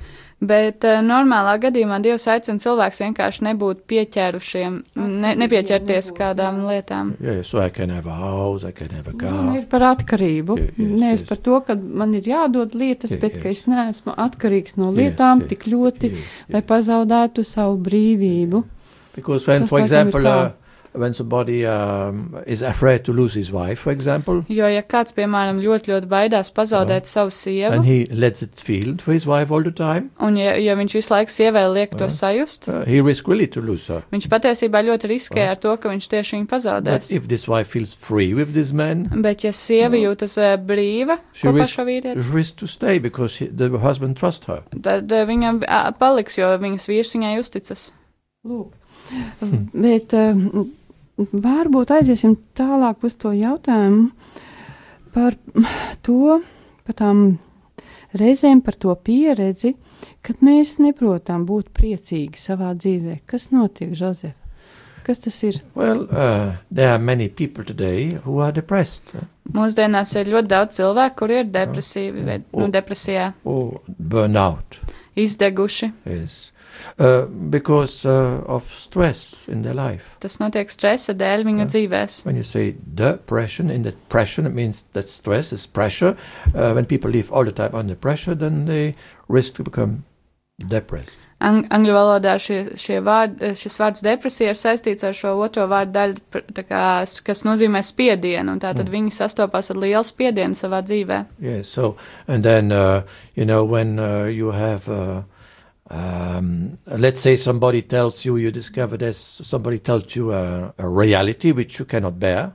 Speaker 4: Bet uh, normālā gadījumā Dievs aicina cilvēks vienkārši nebūt pieķērušiem, ne, nepieķerties kādām lietām.
Speaker 3: Yeah, so I can have a house, I can have a
Speaker 1: Runa
Speaker 3: car.
Speaker 1: ir par atkarību.
Speaker 3: Jā, jā,
Speaker 1: Nevis
Speaker 3: jā.
Speaker 1: par to, ka man ir jādod lietas,
Speaker 3: Jā,
Speaker 1: bet
Speaker 3: jā.
Speaker 1: ka es neesmu atkarīgs no
Speaker 3: Jā,
Speaker 1: lietām
Speaker 3: jā,
Speaker 1: tik ļoti,
Speaker 3: Yeah.
Speaker 1: lai pazaudētu savu brīvību.
Speaker 3: Because when,
Speaker 1: Tas
Speaker 3: for
Speaker 1: laikam ir
Speaker 3: example,
Speaker 1: tā.
Speaker 3: uh, when somebody um, is afraid to lose his wife, for example,
Speaker 4: Jo, ja kāds, piemēram, ļoti, ļoti baidās pazaudēt savu sievu,
Speaker 3: and he lets it feel to his wife all the time,
Speaker 4: un ja, ja viņš visu laiku sievai liek to sajust,
Speaker 3: uh, he risks really to lose her.
Speaker 4: viņš patiesībā ļoti riskē ar to, ka viņš tieši viņu
Speaker 3: But
Speaker 4: pazaudēs.
Speaker 3: if this wife feels free with this man,
Speaker 4: Bet, ja sieva jūtas eh, brīva
Speaker 3: She
Speaker 4: kopā ar
Speaker 3: risk-
Speaker 4: šo
Speaker 3: she
Speaker 4: vīrieti,
Speaker 3: risks to stay because he, the husband trusts her.
Speaker 4: tad eh, viņa ah, paliks, jo viņas vīrs viņai uzticas.
Speaker 1: Lūk. Bet eh, varbūt aiziesim tālāk uz to jautājumu par to, par tām reizēm, par to pieredzi, kad mēs neprotam būt priecīgi savā dzīvē. Kas notiek, Žozef? Kas tas ir?
Speaker 3: Well, uh, there are many people today who are depressed uh,
Speaker 4: Mūsdienās ir ļoti daudz cilvēku, kuri ir depresīvi, vai
Speaker 3: O.
Speaker 4: nu, depresijā
Speaker 3: or burnout.
Speaker 4: izdeguši.
Speaker 3: Yes. Uh, because uh, of stress in their life.
Speaker 4: Tas notiek stresa dēļ viņu
Speaker 3: Jā.
Speaker 4: dzīvēs.
Speaker 3: When you say depression, in that depression, it means that stress is pressure. Uh, when people live all the time under pressure, then they risk to become depressed.
Speaker 4: Ang angļu valodā šie, šie vārd, šis vārds depresija ir saistīts ar šo otro vārdu daļu, pr- tā kā, s- kas nozīmē spiedienu, un tā tad
Speaker 3: Mm.
Speaker 4: viņi sastopās ar lielu spiedienu savā dzīvē.
Speaker 3: Yeah. So, and then uh, you know when uh, you have, uh, um, let's say somebody tells you, you discover there's somebody tells you a, a reality which you cannot bear.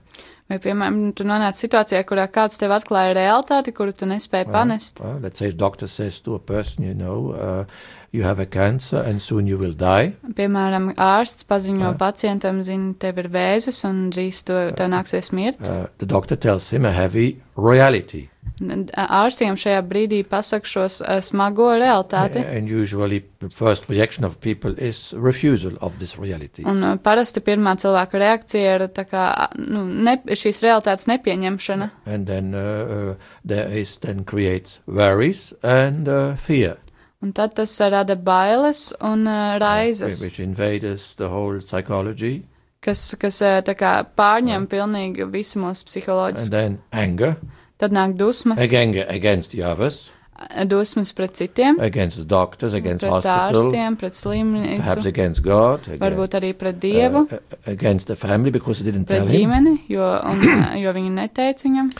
Speaker 4: Vai, piemēram, tu nonāc situācijā, kurā kāds tev atklāja realitāti, kuru tu nespēji
Speaker 3: Well,
Speaker 4: panest.
Speaker 3: Well, Uh, let's say doctor says to a person, you know, uh, you have a cancer and soon you will die.
Speaker 4: Piemēram, ārsts
Speaker 3: Jā.
Speaker 4: paziņo pacientam, zina, tev ir vēzis un drīz to, tev nāksies mirt.
Speaker 3: Uh, the doctor tells him a heavy reality,
Speaker 4: N- Ārstiem šajā brīdī pasaka šo s- smago realitāti.
Speaker 3: and usually the first reaction of people is refusal of this reality.
Speaker 4: Un uh, parasti pirmā cilvēka reakcija ir tā kā, a, nu, ne, šīs realitātes nepieņemšana.
Speaker 3: And then uh, uh, there is then creates worries and uh, fear,
Speaker 4: Un tad tas eh, rada bailes un uh,
Speaker 3: whi-
Speaker 4: raizes,
Speaker 3: which invades the whole psychology,
Speaker 4: kas, kas uh, tā kā pārņem pilnīgi visu mūsu
Speaker 3: and
Speaker 4: psiholoģisku.
Speaker 3: then anger,
Speaker 4: Tad nāk dusmas, eh,
Speaker 3: again against the others,
Speaker 4: dusmas pret citiem,
Speaker 3: against the uh, doctors, against
Speaker 4: pret
Speaker 3: hospital,
Speaker 4: ārstiem, pret
Speaker 3: perhaps
Speaker 4: slimnīcu,
Speaker 3: against God, against,
Speaker 4: varbūt arī pret dievu,
Speaker 3: uh, uh, against the family because they didn't tell
Speaker 4: pret
Speaker 3: him.
Speaker 4: ģimeni, jo, un, uh, jo viņi neteica viņam.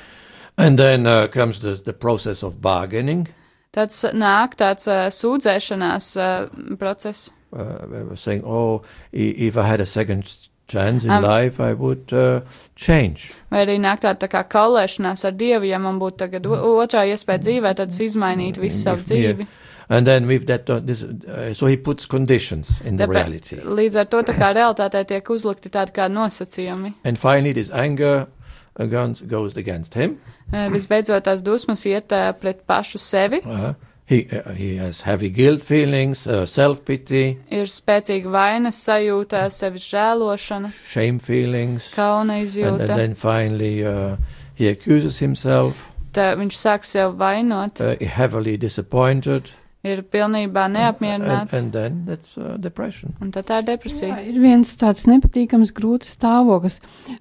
Speaker 3: And then uh, comes the, the process of bargaining.
Speaker 4: Tad s- nāk tāds uh, sūdzēšanās uh, process.
Speaker 3: Uh, they were saying, "Oh, i- if I had a second s- chance in
Speaker 4: Um,
Speaker 3: life, I would uh, change."
Speaker 4: Vai arī nāk tāda tā kā kaulēšanās ar Dievu, ja man būtu tagad o- otrā iespēja dzīvē, tad es izmainītu visu
Speaker 3: Mm,
Speaker 4: savu
Speaker 3: if- yeah.
Speaker 4: dzīvi.
Speaker 3: And then with that, uh, this, uh, so he puts conditions in the reality.
Speaker 4: Tāpēc, līdz ar to tā kā realitātē tiek uzlikti tādi kā nosacījumi.
Speaker 3: And finally, this anger against, goes against him.
Speaker 4: Eh, Visbeidzot, tās dusmas iet eh, pret pašu sevi,
Speaker 3: Uh, he uh, he has heavy guilt feelings, uh, self pity,
Speaker 4: ir spēcīga vainas sajūta, sevis žēlošana,
Speaker 3: shame feelings,
Speaker 4: kauna
Speaker 3: and, and
Speaker 4: izjūta.
Speaker 3: then finally uh, he accuses himself,
Speaker 4: Tā viņš sāk sev vainot,
Speaker 3: uh, heavily disappointed,
Speaker 4: ir pilnībā
Speaker 3: and,
Speaker 4: neapmierināts,
Speaker 3: and then that's uh, depression.
Speaker 4: un tad tā ir
Speaker 1: Jā,
Speaker 4: depresija.
Speaker 1: ir viens tāds nepatīkams, grūts stāvoklis,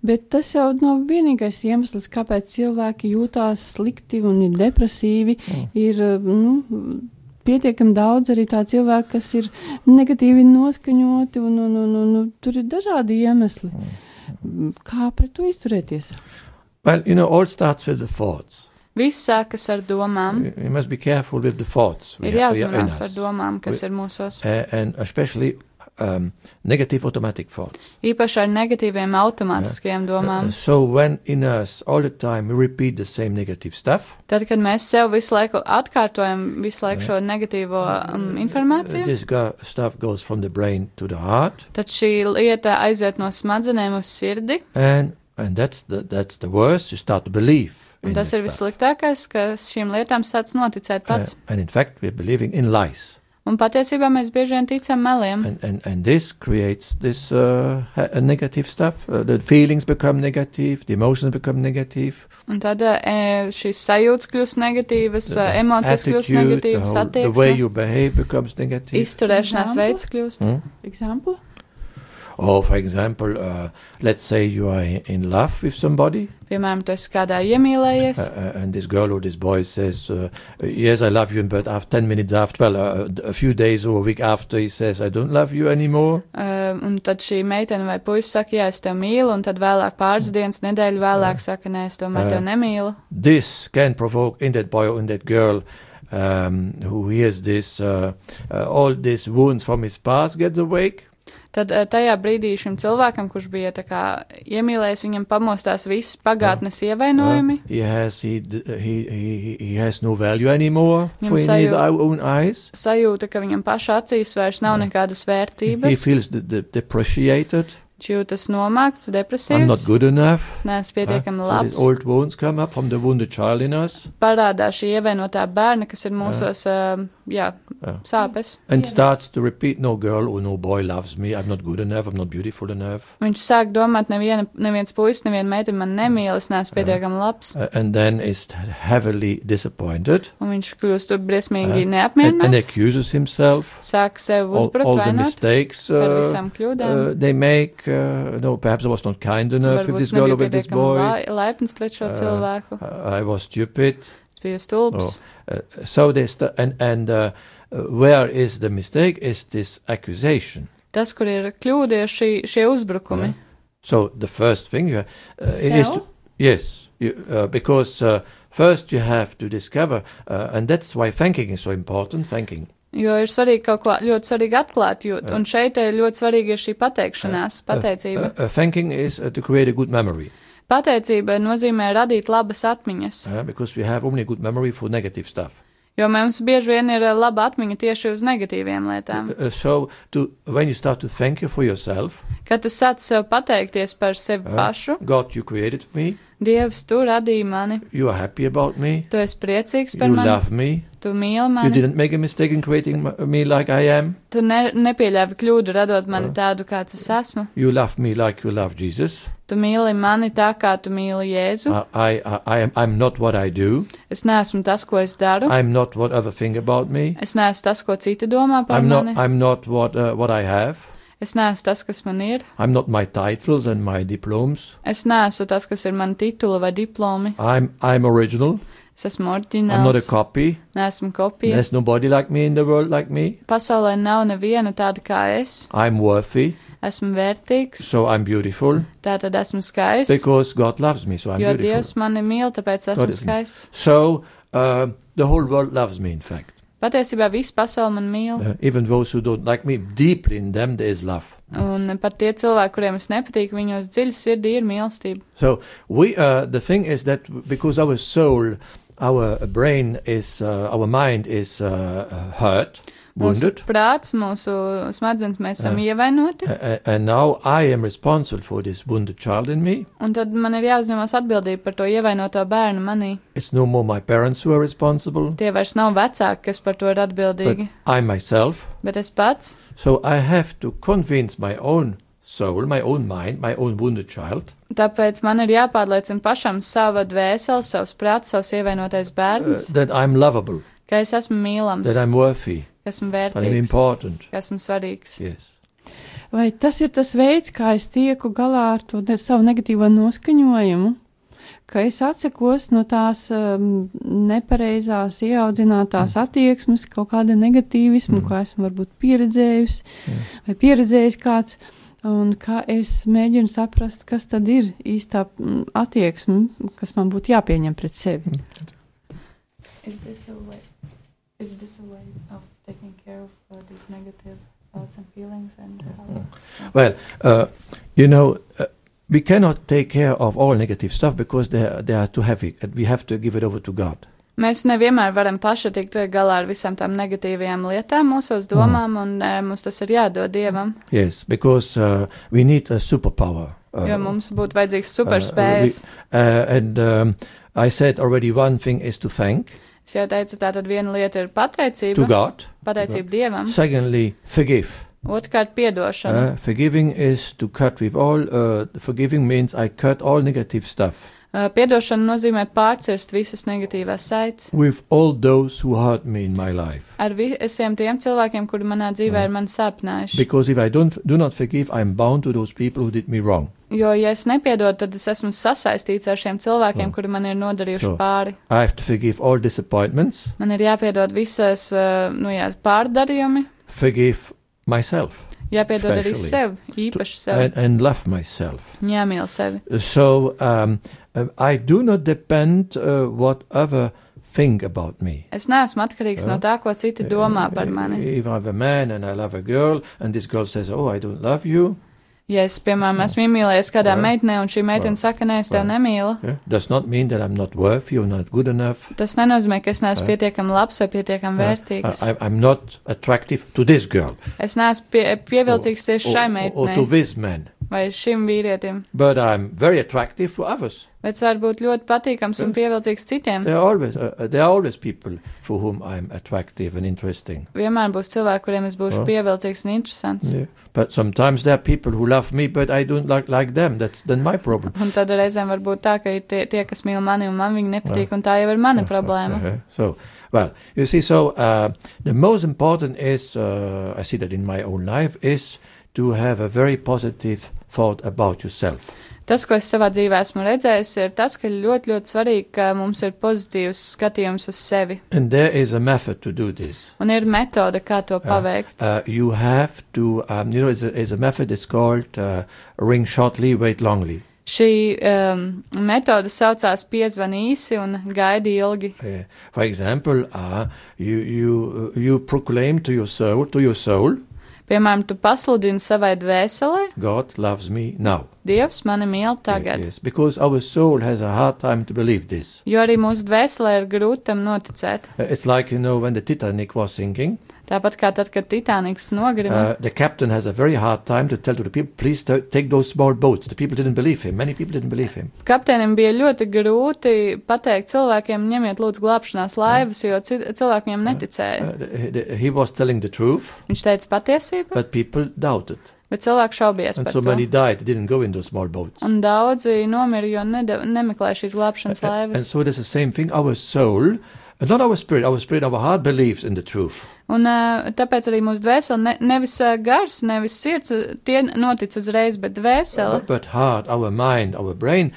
Speaker 1: bet tas jau nav vienīgais iemesls, kāpēc cilvēki jūtās slikti un ir depresīvi.
Speaker 3: Mm.
Speaker 1: Ir eh, nu, pietiekami daudz arī tā cilvēku, kas ir negatīvi noskaņoti, un, un, un, un, un tur ir dažādi iemesli. Kā pret to izturēties?
Speaker 3: Well, you know, all starts with the thoughts.
Speaker 4: Viss sākas ar domām,
Speaker 3: We, we must be careful with the thoughts we,
Speaker 4: ir
Speaker 3: ha- we are in
Speaker 4: jāuzmanās ar
Speaker 3: us,
Speaker 4: domām, kas ir mūsos.
Speaker 3: Uh, and especially um, negative automatic thoughts.
Speaker 4: Īpaši ar negatīviem automātiskajiem
Speaker 3: Uh,
Speaker 4: domām.
Speaker 3: so when in us all the time we repeat the same negative stuff,
Speaker 4: Tad, kad mēs sev visu laiku atkārtojam visu laiku šo negatīvo um,
Speaker 3: uh,
Speaker 4: informāciju,
Speaker 3: this go- stuff goes from the brain to the heart,
Speaker 4: tad šī lieta aiziet no smadzenēm uz sirdi,
Speaker 3: and and that's the that's the worst. You start to believe.
Speaker 4: un
Speaker 3: in
Speaker 4: tas
Speaker 3: that
Speaker 4: ir
Speaker 3: stuff.
Speaker 4: vissliktākais, ka šīm lietām sāc noticēt
Speaker 3: Uh,
Speaker 4: pats.
Speaker 3: and in fact, we're believing in lies,
Speaker 4: Un patiesībā mēs bieži vien ticam meliem,
Speaker 3: and and, and this creates this uh, ha- uh, negative stuff. Uh, the feelings become negative, the emotions become negative,
Speaker 4: un tad e, šīs sajūtas kļūst negatīvas, e, emocijas kļūst
Speaker 3: the,
Speaker 4: negatīvas,
Speaker 3: whole- the way
Speaker 4: attieksme,
Speaker 3: you behave becomes negative.
Speaker 4: izturēšanās veids kļūst.
Speaker 3: Hmm?
Speaker 1: Example?
Speaker 3: Or, for example, uh, let's say you are i- in love with somebody,
Speaker 4: Piemēram, tu esi kādā
Speaker 3: uh,
Speaker 4: iemīlējies,
Speaker 3: uh, and this girl or this boy says, uh, "Yes, I love you," but after ten minutes after, well, uh, a few days or a week after, he says, "I don't love you anymore."
Speaker 4: Uh, un tad šī meitene vai puisis saka, jā, es tevi mīlu, un tad vēlāk pāris dienas, nedēļu vēlāk saka, nē, es tomēr
Speaker 3: Mm. Jā.
Speaker 4: tevi nemīlu.
Speaker 3: This can provoke in that boy or in that girl. Um, who hears this, uh, uh, all these wounds from his past gets awake,
Speaker 4: Tad uh, tajā brīdī šim cilvēkam, kurš bija tā kā iemīlējis, viņam pamostās visas pagātnes
Speaker 3: Uh,
Speaker 4: ievainojumi.
Speaker 3: he has he, d- he he he has no value anymore
Speaker 4: Viņam
Speaker 3: for in his
Speaker 4: sajūta-
Speaker 3: own eyes.
Speaker 4: Sajūta, ka viņam pašā acīs vairs nav
Speaker 3: Jā.
Speaker 4: nekādas
Speaker 3: He
Speaker 4: vērtības.
Speaker 3: feels de- de- depreciated.
Speaker 4: Viņš jūtas nomākts,
Speaker 3: I'm not
Speaker 4: depresīvs.
Speaker 3: good enough.
Speaker 4: Es neesmu
Speaker 3: huh?
Speaker 4: pietiekami
Speaker 3: So these
Speaker 4: labs.
Speaker 3: old wounds come up from the wounded child in us
Speaker 4: Parādās šī ievainotā bērna, kas ir mūsos um, jā,
Speaker 3: Jā.
Speaker 4: sāpes.
Speaker 3: and starts to repeat, "No girl or no boy loves me. I'm not good enough. I'm not beautiful enough."
Speaker 4: Viņš sāk domāt, neviena, neviens puisis, neviena meita man nemīl, es neesmu pietiekami labs.
Speaker 3: Uh, and then is heavily disappointed
Speaker 4: Un viņš kļūst briesmīgi
Speaker 3: Jā. and, and
Speaker 4: neapmierināts.
Speaker 3: accuses himself
Speaker 4: Sāk sev
Speaker 3: all, all
Speaker 4: uzbrukt
Speaker 3: the
Speaker 4: vainot
Speaker 3: mistakes
Speaker 4: par
Speaker 3: uh,
Speaker 4: visām kļūdām.
Speaker 3: uh, they make. Uh, no, perhaps I was not kind enough with
Speaker 4: Varbūt
Speaker 3: this
Speaker 4: es
Speaker 3: girl
Speaker 4: nebiju
Speaker 3: or with this
Speaker 4: pietiekami
Speaker 3: boy.
Speaker 4: lai- laipns pret šo
Speaker 3: Uh,
Speaker 4: cilvēku.
Speaker 3: I I was stupid.
Speaker 4: Es biju stulbs.
Speaker 3: Uh, so they st- and and uh, uh, where is the mistake? Is this accusation?
Speaker 4: Tas, kur ir kļūda, ir šī, šie uzbrukumi.
Speaker 3: So the first thing you have, uh, is to, yes, you, uh, because uh, first you have to discover, uh, and that's why thanking is so important. Thanking,
Speaker 4: Jo ir svarīgi kaut ko ļoti svarīgi atklāt, jo, un šeit eh, ļoti svarīga ir šī pateikšanās,
Speaker 3: uh,
Speaker 4: pateicība.
Speaker 3: uh, thanking is uh, to create a good memory,
Speaker 4: Pateicība nozīmē radīt labas atmiņas,
Speaker 3: uh, because we have only good memory for negative stuff.
Speaker 4: jo mums bieži vien ir eh, laba atmiņa tieši uz negatīviem lietām.
Speaker 3: Uh, so to when you start to thank you for yourself,
Speaker 4: Kad tu sāc sev pateikties par sevi
Speaker 3: Jā.
Speaker 4: pašu,
Speaker 3: God, you created me,
Speaker 4: Dievs, tu radīji mani,
Speaker 3: you are happy about me,
Speaker 4: tu esi priecīgs par
Speaker 3: you
Speaker 4: mani,
Speaker 3: love me.
Speaker 4: tu mīli
Speaker 3: You
Speaker 4: mani,
Speaker 3: didn't make a mistake in creating m- me like I am.
Speaker 4: tu ne, nepieļāvi kļūdu radot mani tādu, kāds es esmu.
Speaker 3: You love me like you love Jesus.
Speaker 4: Tu mīli mani tā, kā tu mīli Jēzu.
Speaker 3: I, I, I, I am, I'm not what I do.
Speaker 4: Es neesmu tas, ko es daru.
Speaker 3: I'm not what other think about me.
Speaker 4: Es neesmu tas, ko citi domā par
Speaker 3: I'm
Speaker 4: mani.
Speaker 3: not, I'm not what, uh, what I have.
Speaker 4: Es neesmu tas, kas man ir.
Speaker 3: I'm not my titles and my diplomas.
Speaker 4: Es neesmu tas, kas ir mani titula vai diplomi.
Speaker 3: I'm, I'm original.
Speaker 4: Es esmu
Speaker 3: I'm not a
Speaker 4: oriģināls.
Speaker 3: copy.
Speaker 4: Neesmu kopija.
Speaker 3: There's nobody like me in the world like me.
Speaker 4: Pasaulē nav neviena tāda kā es.
Speaker 3: I'm worthy,
Speaker 4: Esmu vērtīgs,
Speaker 3: so I'm beautiful
Speaker 4: tātad esmu skaists.
Speaker 3: because God loves me, so I'm
Speaker 4: Jo Dievs
Speaker 3: beautiful.
Speaker 4: mani mīl, tāpēc esmu
Speaker 3: Goodness.
Speaker 4: skaists.
Speaker 3: So uh, the whole world loves me, in fact.
Speaker 4: Patiesībā viss pasaule man mīl.
Speaker 3: Uh, even those who don't like me, deeply in them there is love.
Speaker 4: Un pat tie cilvēki, kuriem es nepatīku, viņos dziļi sirdī ir mīlestība.
Speaker 3: So we, uh, the thing is that because our soul, our brain is, uh, our mind is uh, hurt,
Speaker 4: Mūsu
Speaker 3: wounded,
Speaker 4: prāts, mūsu smadzenes mēs esam ievainoti.
Speaker 3: uh, and now I am responsible for this wounded child in me.
Speaker 4: Un tad man ir jāuzņemas atbildība par to ievainoto bērnu manī.
Speaker 3: It's no more my parents who are responsible,
Speaker 4: Tie vairs nav vecāki, kas par to ir
Speaker 3: but
Speaker 4: atbildīgi,
Speaker 3: I myself.
Speaker 4: bet, bet es pats.
Speaker 3: So I have to convince my own soul, my own mind, my own wounded child
Speaker 4: Tāpēc man ir jāpārliecina pašam sava dvēsele, savs prāts, savs ievainotais
Speaker 3: uh,
Speaker 4: bērns,
Speaker 3: that I'm lovable,
Speaker 4: ka es esmu mīlams,
Speaker 3: that I'm worthy,
Speaker 4: ka esmu
Speaker 3: that I'm
Speaker 4: vērtīgs,
Speaker 3: important.
Speaker 4: ka esmu svarīgs.
Speaker 3: Yes.
Speaker 1: Vai tas ir tas veids, kā es tieku galā ar to ne, savu negatīvo noskaņojumu, ka es atsakos no tās um, nepareizās, ieaudzinātās mm. attieksmes, kaut kāda negatīvisma, mm. kā esmu varbūt pieredzējusi mm. vai pieredzējis kāds, un kā es mēģinu saprast, kas tad ir īstā mm, attieksme, kas man būtu jāpieņem pret sevi.
Speaker 6: Is this a way? Is this a way of taking care of uh, these negative thoughts and feelings and? How
Speaker 3: Well, uh, you know, uh, we cannot take care of all negative stuff because they are, they are too heavy, and we have to give it over to God.
Speaker 4: Mēs nevienmēr varam paši tikt galā ar visām tām negatīvajām lietām, mūsos domām, un e, mums tas ir jādod dievam,
Speaker 3: Yes, because uh, we need a superpower. Uh,
Speaker 4: jo mums būtu vajadzīgs
Speaker 3: uh,
Speaker 4: superspējas.
Speaker 3: uh, and um, I said already one thing is to thank
Speaker 4: Es jau teicu, tātad viena lieta ir
Speaker 3: to
Speaker 4: pateicība,
Speaker 3: God.
Speaker 4: pateicība dievam,
Speaker 3: Secondly, forgive.
Speaker 4: otrkārt piedošana.
Speaker 3: Uh, forgiving is to cut with all. Uh, forgiving means I cut all negative stuff
Speaker 4: Uh, Piedošana nozīmē pārcirst visas negatīvās saites.
Speaker 3: with all those who hurt me in my life.
Speaker 4: Ar vi- visiem tiem cilvēkiem, kuri manā dzīvē ir man sāpinājuši.
Speaker 3: Because if I don't do not forgive, I'm bound to those people who did me wrong.
Speaker 4: Jo, ja es nepiedodu, tad es esmu sasaistīts ar šiem cilvēkiem, kuri man ir
Speaker 3: Sure.
Speaker 4: nodarījuši pāri.
Speaker 3: I have to forgive all disappointments,
Speaker 4: Man ir jāpiedod visas uh, nu, jā, pārdarījumi,
Speaker 3: forgive myself,
Speaker 4: jāpiedod arī
Speaker 3: Especially.
Speaker 4: sev, īpaši sev,
Speaker 3: and, and love myself.
Speaker 4: un jāmīl sevi.
Speaker 3: So um, um, I do not depend uh, what other think about me.
Speaker 4: Es neesmu atkarīgs
Speaker 3: Jā.
Speaker 4: no tā, ko citi domā par mani.
Speaker 3: If I'm a man and I love a girl, and this girl says, "Oh, I don't love you,"
Speaker 4: Ja es, piemēram, esmu iemīlējies kādā
Speaker 3: Jā.
Speaker 4: meitenē, un šī meitene
Speaker 3: Jā.
Speaker 4: saka, nē, es tevi
Speaker 3: Jā.
Speaker 4: nemīlu,
Speaker 3: yeah, does not mean that I'm not worthy or not good enough.
Speaker 4: tas nenozīmē, ka es neesmu
Speaker 3: Jā.
Speaker 4: pietiekami labs vai pietiekami
Speaker 3: Uh,
Speaker 4: vērtīgs.
Speaker 3: I, I'm not attractive to this girl
Speaker 4: Es neesmu pie, pievilcīgs tieši
Speaker 3: or,
Speaker 4: šai
Speaker 3: or, or to
Speaker 4: meitenei
Speaker 3: this man.
Speaker 4: vai šim vīrietim,
Speaker 3: But I'm very attractive for others.
Speaker 4: bet es varu būt ļoti patīkams un pievilcīgs citiem.
Speaker 3: There are always uh, there are always people for whom I'm attractive and interesting.
Speaker 4: Vienmēr būs cilvēki, kuriem es būšu
Speaker 3: Jā.
Speaker 4: pievilcīgs un interesants.
Speaker 3: Yeah. But sometimes there are people who love me, but I don't like like them. That's then my problem.
Speaker 4: Un tad reizēm var būt tā, ka ir tie, tie kas mīl mani un man viņi nepatīk, un tā jau ir mana problēma.
Speaker 3: Uh-huh. So, well, you see, so uh, the most important is, uh, I see that in my own life, is to have a very positive thought about yourself.
Speaker 4: Tas, ko es savā dzīvē esmu redzējis, ir tas, ka ļoti, ļoti svarīgi, ka mums ir pozitīvs skatījums uz sevi.
Speaker 3: And there is a method to do this.
Speaker 4: Un ir metode, kā to paveikt.
Speaker 3: Uh, you have to, um, you know, it's a, it's a method, it's called uh, ring shortly, wait longly.
Speaker 4: Šī um, metode saucās piezvan īsi un gaidi ilgi.
Speaker 3: Uh, for example, uh, you, you, uh, you proclaim to your soul, to your soul,
Speaker 4: Piemēram, tu pasludini savai dvēselē,
Speaker 3: God loves me now.
Speaker 4: Dievs mani mīl tagad.
Speaker 3: Yes, because our soul has a hard time to believe this.
Speaker 4: Jo arī mūsu dvēselē ir grūti tam noticēt.
Speaker 3: Uh, It's like, you know, when the Titanic was sinking,
Speaker 4: Tāpat kā tad, kad Titaniks nogrima,
Speaker 3: uh, the captain has a very hard time to tell to the people, please t- take those small boats. The people didn't believe him. Many people didn't believe him.
Speaker 4: kapteinim bija ļoti grūti pateikt cilvēkiem, ņemiet lūdzu glābšanās laivas, jo ci- cilvēki viņam neticēja.
Speaker 3: Uh, the, the, he was telling the truth,
Speaker 4: Viņš teica patiesību,
Speaker 3: but people doubted.
Speaker 4: bet cilvēki šaubies
Speaker 3: And
Speaker 4: par
Speaker 3: so many
Speaker 4: to.
Speaker 3: died. They didn't go in those small boats.
Speaker 4: Un daudzi nomira, jo nede- nemeklēja šīs glābšanas
Speaker 3: And
Speaker 4: laivas.
Speaker 3: so it is the same thing. Our soul, uh, not our spirit, our spirit, our heart believes in the truth.
Speaker 4: Un ā, tāpēc arī mūsu dvēsele, ne, nevis ā, gars, nevis sirds, ā, tie notic uzreiz, bet dvēsele.
Speaker 3: But, but heart, our mind, our brain,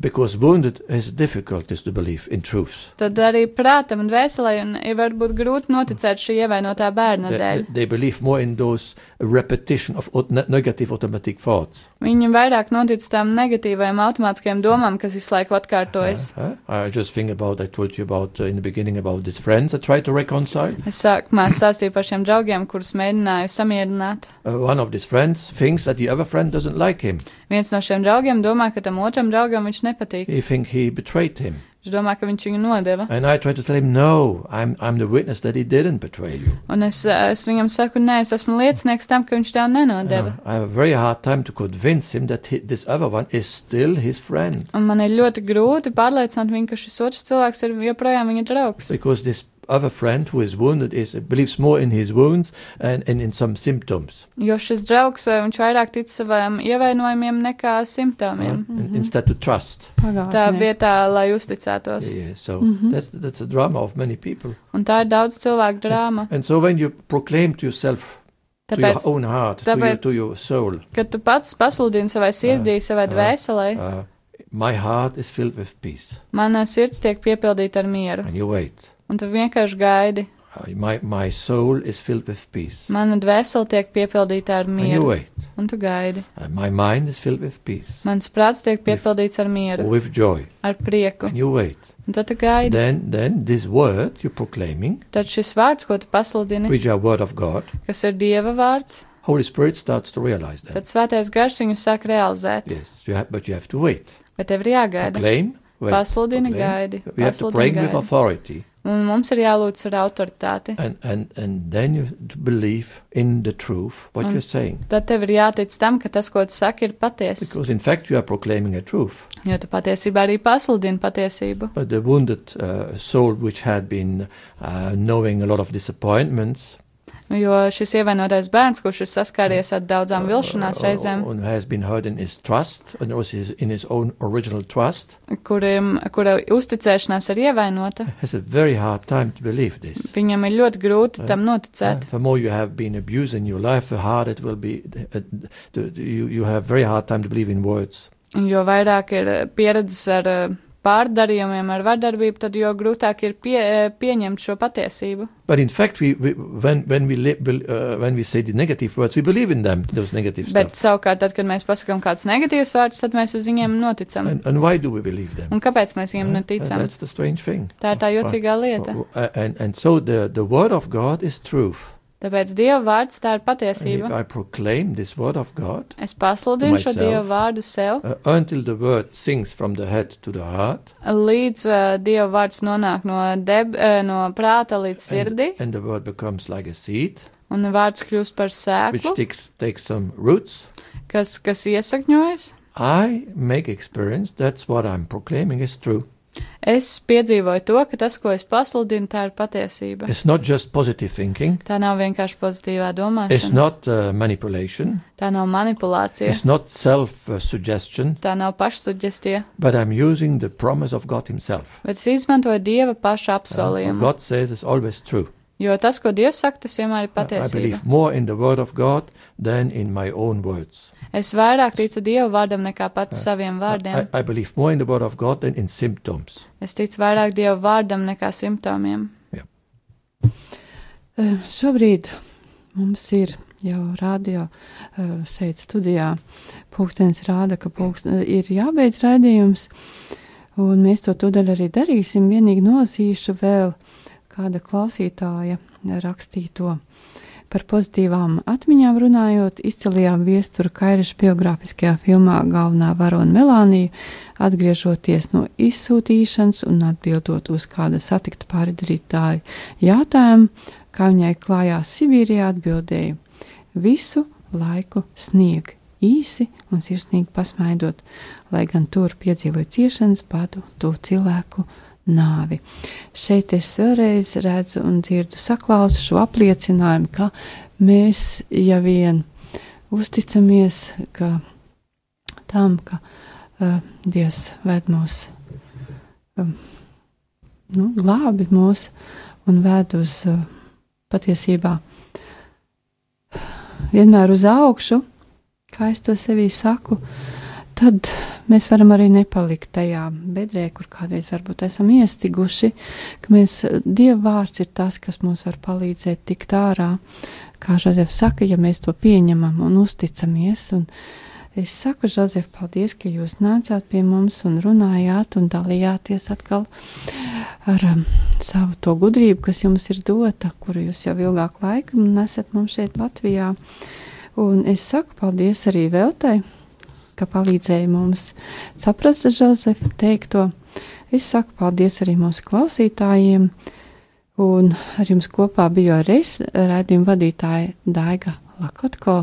Speaker 3: because wounded, has difficulties to believe in truths.
Speaker 4: Tad arī prātam un dvēselē un ir varbūt grūti noticēt šī ievainotā bērna
Speaker 3: They,
Speaker 4: dēļ.
Speaker 3: they, they believe more in those repetition of aut- ne- negative automatic thoughts.
Speaker 4: Viņi vairāk notic tām negatīvajām automātiskajām domām, kas visu laiku atkārtojas.
Speaker 3: Huh? I just think about I told you about uh, in the beginning about these friends I tried to reconcile.
Speaker 4: Es sākumā stāstīju par šiem draugiem, kurus mēģināju samierināt.
Speaker 3: Uh, one of these friends thinks that the other friend doesn't like him.
Speaker 4: Viens no šiem draugiem domā, ka tam otram draugam viņš nepatīk.
Speaker 3: He think he betrayed him,
Speaker 4: Viņš domā, ka viņš viņu nodeva.
Speaker 3: and I try to tell him no. I'm I'm the witness that he didn't betray you.
Speaker 4: Un es, ā, es viņam saku, nē, es esmu liecinieks tam, ka viņš tev nenodeva.
Speaker 3: Uh, I have a very hard time to convince him that he, this other one is still his friend
Speaker 4: Un man ir ļoti grūti pārliecināt viņu, ka šis otrs cilvēks ir joprojām viņa draugs.
Speaker 3: because this other friend who is wounded is believes more in his wounds and, and in some symptoms
Speaker 4: Jo šis draugs, ā, viņš vairāk tic saviem ievainojumiem nekā
Speaker 3: huh?
Speaker 4: simptomiem.
Speaker 3: In- instead to trust.
Speaker 4: Tā
Speaker 1: Pagātnē. Mhm.
Speaker 4: vietā, lai uzticētos.
Speaker 3: Yeah, so
Speaker 1: Mm-hmm.
Speaker 3: that's that's the drama of many people.
Speaker 4: Un tā ir daudz cilvēku drāma.
Speaker 3: And so when you proclaim to yourself to your
Speaker 4: Tāpēc,
Speaker 3: own heart, to your,
Speaker 4: tāpēc-
Speaker 3: to your soul.
Speaker 4: kad tu pats pasludini savai sirdī, savai
Speaker 3: jā.
Speaker 4: dvēselē,
Speaker 3: Uh, my heart is filled with peace,
Speaker 4: mana sirds tiek piepildīta ar mieru.
Speaker 3: and you wait.
Speaker 4: Un tu vienkārši gaidi.
Speaker 3: Uh, my my soul is filled with peace,
Speaker 4: Mana dvēsele tiek piepildīta ar
Speaker 3: and you
Speaker 4: mieru.
Speaker 3: wait.
Speaker 4: Un tu gaidi.
Speaker 3: Uh, my mind is filled with peace,
Speaker 4: Mans prāts tiek piepildīts ar mieru,
Speaker 3: with joy,
Speaker 4: ar prieku.
Speaker 3: and you wait.
Speaker 4: Un tad tu gaidi.
Speaker 3: Then then this word you're proclaiming,
Speaker 4: Tad šis vārds, ko tu pasludini,
Speaker 3: which are word of God,
Speaker 4: kas ir Dieva vārds,
Speaker 3: Holy Spirit starts to realize that.
Speaker 4: tad svētais gars viņu sāk realizēt.
Speaker 3: Yes, you have, but you have to wait.
Speaker 4: Bet tev ir jāgaida.
Speaker 3: Proclaim. Wait,
Speaker 4: Pasludini,
Speaker 3: proclaim.
Speaker 4: gaidi.
Speaker 3: We have to pray
Speaker 4: Pasludini,
Speaker 3: with
Speaker 4: gaidi.
Speaker 3: authority,
Speaker 4: Un mums ir jālūdz ar autoritāti.
Speaker 3: and, and, and then you to believe in the truth what
Speaker 4: Mm.
Speaker 3: you're saying.
Speaker 4: Tad tev ir jātic tam, ka tas, ko tu saki, ir patiesa.
Speaker 3: Because in fact you are proclaiming a truth.
Speaker 4: Jo tu patiesībā arī pasludini patiesību.
Speaker 3: But the wounded uh, soul, which had been uh, knowing a lot of disappointments,
Speaker 4: Jo šis ievainotais bērns, kurš ir saskāries ar daudzām vilšanās
Speaker 3: uh,
Speaker 4: reizēm,
Speaker 3: and has been hurt in his trust and also his, in his own original trust,
Speaker 4: kurim, kura uzticēšanās ir ievainota,
Speaker 3: has a very hard time to believe this. Uh,
Speaker 4: viņam ir ļoti grūti tam noticēt.
Speaker 3: the more you have been abused in your life, the harder it will be. Uh, to, you you have very hard time to believe in words.
Speaker 4: Jo vairāk ir eh, pieredzes ar eh, pārdarījumiem, ar vardarbību, tad jo grūtāk ir pie, eh, pieņemt šo patiesību.
Speaker 3: But in fact, we, we when when we li- bel- uh, when we say the negative words, we believe in them. Those negative
Speaker 4: Bet
Speaker 3: stuff.
Speaker 4: savukārt, tad, kad mēs pasakām kādus negatīvus vārdus, tad mēs uz viņiem noticam.
Speaker 3: And, and why do we believe them?
Speaker 4: Un kāpēc mēs viņiem
Speaker 3: Huh?
Speaker 4: neticam?
Speaker 3: That's the strange thing.
Speaker 4: Tā ir tā jocīgā lieta.
Speaker 3: Uh, and and so the the word of God is truth.
Speaker 4: Tāpēc Dieva vārds tā
Speaker 3: And
Speaker 4: ir
Speaker 3: if
Speaker 4: patiesība.
Speaker 3: I proclaim this word of God
Speaker 4: Es pasludinu šo
Speaker 3: myself.
Speaker 4: Dieva vārdu sev,
Speaker 3: uh, until the word sinks from the head to the heart,
Speaker 4: līdz uh, Dieva vārds nonāk no, deb, uh, no prāta līdz sirdī,
Speaker 3: and, and the word becomes like a seed
Speaker 4: un vārds kļūst par
Speaker 3: which
Speaker 4: sēklu,
Speaker 3: takes takes some roots,
Speaker 4: kas, kas iesakņojas.
Speaker 3: I make experience, that's what I'm proclaiming is true.
Speaker 4: Es piedzīvoju to, ka tas, ko es pasludinu, tā ir patiesība.
Speaker 3: It's not just positive thinking,
Speaker 4: Tā nav vienkārši pozitīvā
Speaker 3: it's
Speaker 4: domāšana,
Speaker 3: not uh, manipulation,
Speaker 4: tā nav manipulācija,
Speaker 3: it's not self uh, suggestion,
Speaker 4: tā nav pašsuģestie,
Speaker 3: but I'm using the promise of God Himself.
Speaker 4: bet es izmantoju Dieva paša
Speaker 3: what
Speaker 4: apsolījumu.
Speaker 3: God says is always true.
Speaker 4: Jo tas, ko Dievs saka, tas vienmēr ir
Speaker 3: I- I
Speaker 4: patiesība.
Speaker 3: believe more in the Word of God than in my own words.
Speaker 4: Es vairāk ticu Dieva vārdam nekā pats saviem
Speaker 3: I-
Speaker 4: vārdiem.
Speaker 3: I, I believe more in the Word of God than in symptoms.
Speaker 4: Es ticu vairāk Dieva vārdam nekā simptomiem.
Speaker 1: Eh, Šobrīd mums ir jau rādio eh, šeit studijā. Pūkstens rāda, ka pūkst, eh, ir jābeidz raidījums, un mēs to tūdaļ arī darīsim. Vienīgi nolasīšu vēl kāda klausītāja rakstīto. Par pozitīvām atmiņām runājot, izcēlījām viesturu Kairiša biogrāfiskajā filmā galvenā varona Melānija, atgriežoties no izsūtīšanas un atbildot uz kāda satikta pāridarītāja jautājumu, kā viņai klājās Sibīrijā, atbildēja: Visu laiku snieg, īsi un sirsnīgi pasmaidot, lai gan tur piedzīvoja ciešanas, badu, to cilvēku nāvi. Šeit es vēlreiz redzu un dzirdu saklausu šo apliecinājumu, ka mēs ja vien uzticamies, ka tam, ka uh, Dievs ved mūs, um, nu, glābi mūs un ved uz uh, patiesībā vienmēr uz augšu, kā es to sevī saku, tad mēs varam arī nepalikt tajā bedrē, kur kādreiz varbūt esam iestiguši, ka mēs, Dieva vārds ir tas, kas mums var palīdzēt tikt ārā, kā Žozef saka, ja mēs to pieņemam un uzticamies. Un es saku, Žozef, paldies, ka jūs nācāt pie mums un runājāt un dalījāties atkal ar um, savu to gudrību, kas jums ir dota, kuru jūs jau ilgāk laiku nesat mums šeit Latvijā. Un es saku paldies arī Veltai, ka palīdzēja mums saprast Žozefa teikto. Es saku paldies arī mūsu klausītājiem, un ar jums kopā biju arī es, raidījuma vadītāja Daiga Lakotko,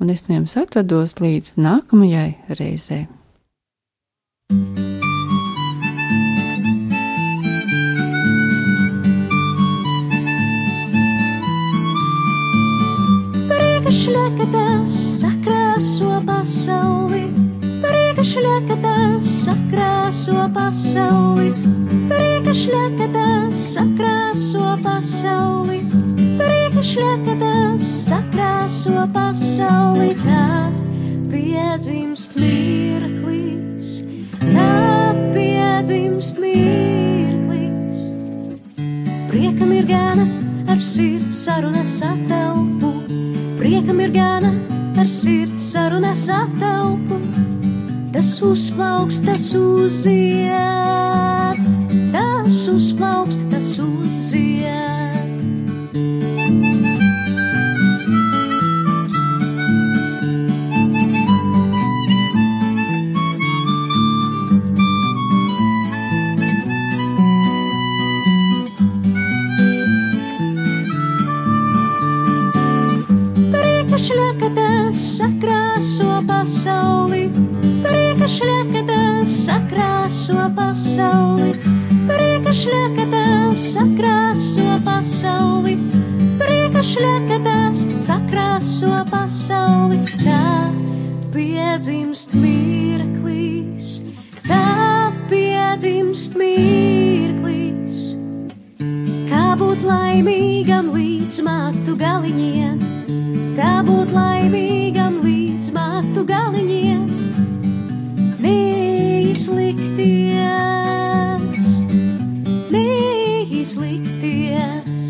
Speaker 1: un es no jums atvedos līdz nākamajai reizei.
Speaker 7: Priekšliekatas sakrāso pasauli, priekšliekatas sakrāso pasauli, priekšliekatas sakrāso pasauli, priekšliekatas sakrāso pasauli, tā piedzimst mirklis, tā piedzimst mirklis. Priekam ir gana ar sirds sarunas atelpu, priekam ir gana ar sirds sarunas atelpu. Tas uzplauks, tas uziet, tas uzplauks, tas uziet. Priekšliekatas sakrāso pasauli, priekšliekatas sakrāso pasauli, priekšliekatas sakrāso pasauli, priekšliekatas sakrāso pasauli, tā piedzimst mirklis, tā piedzimst mirklis. Kā būt laimīgam līdz matu galiņiem? Kā būt laimīgam līdz matu galiņiem, neizlikties, neizlikties.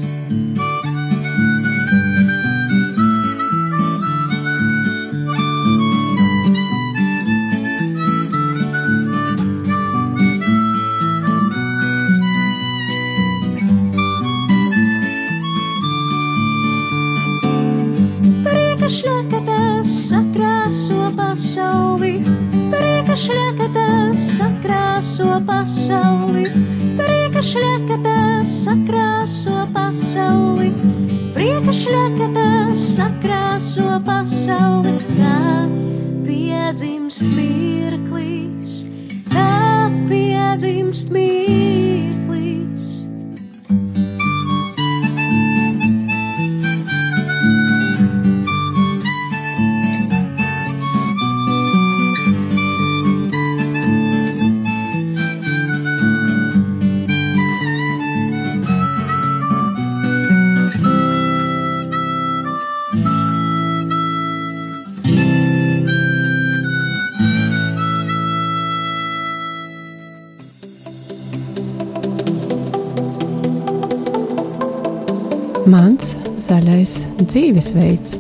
Speaker 7: Priekšliekatas sakrāso pasauli, priekšliekatas sakrāso pasauli, priekšliekatas sakrāso pasauli, priekšliekatas sakrāso pasauli, tā piedzimst mirklis, tā piedzimst mirklis.
Speaker 1: Mans zaļais dzīvesveids.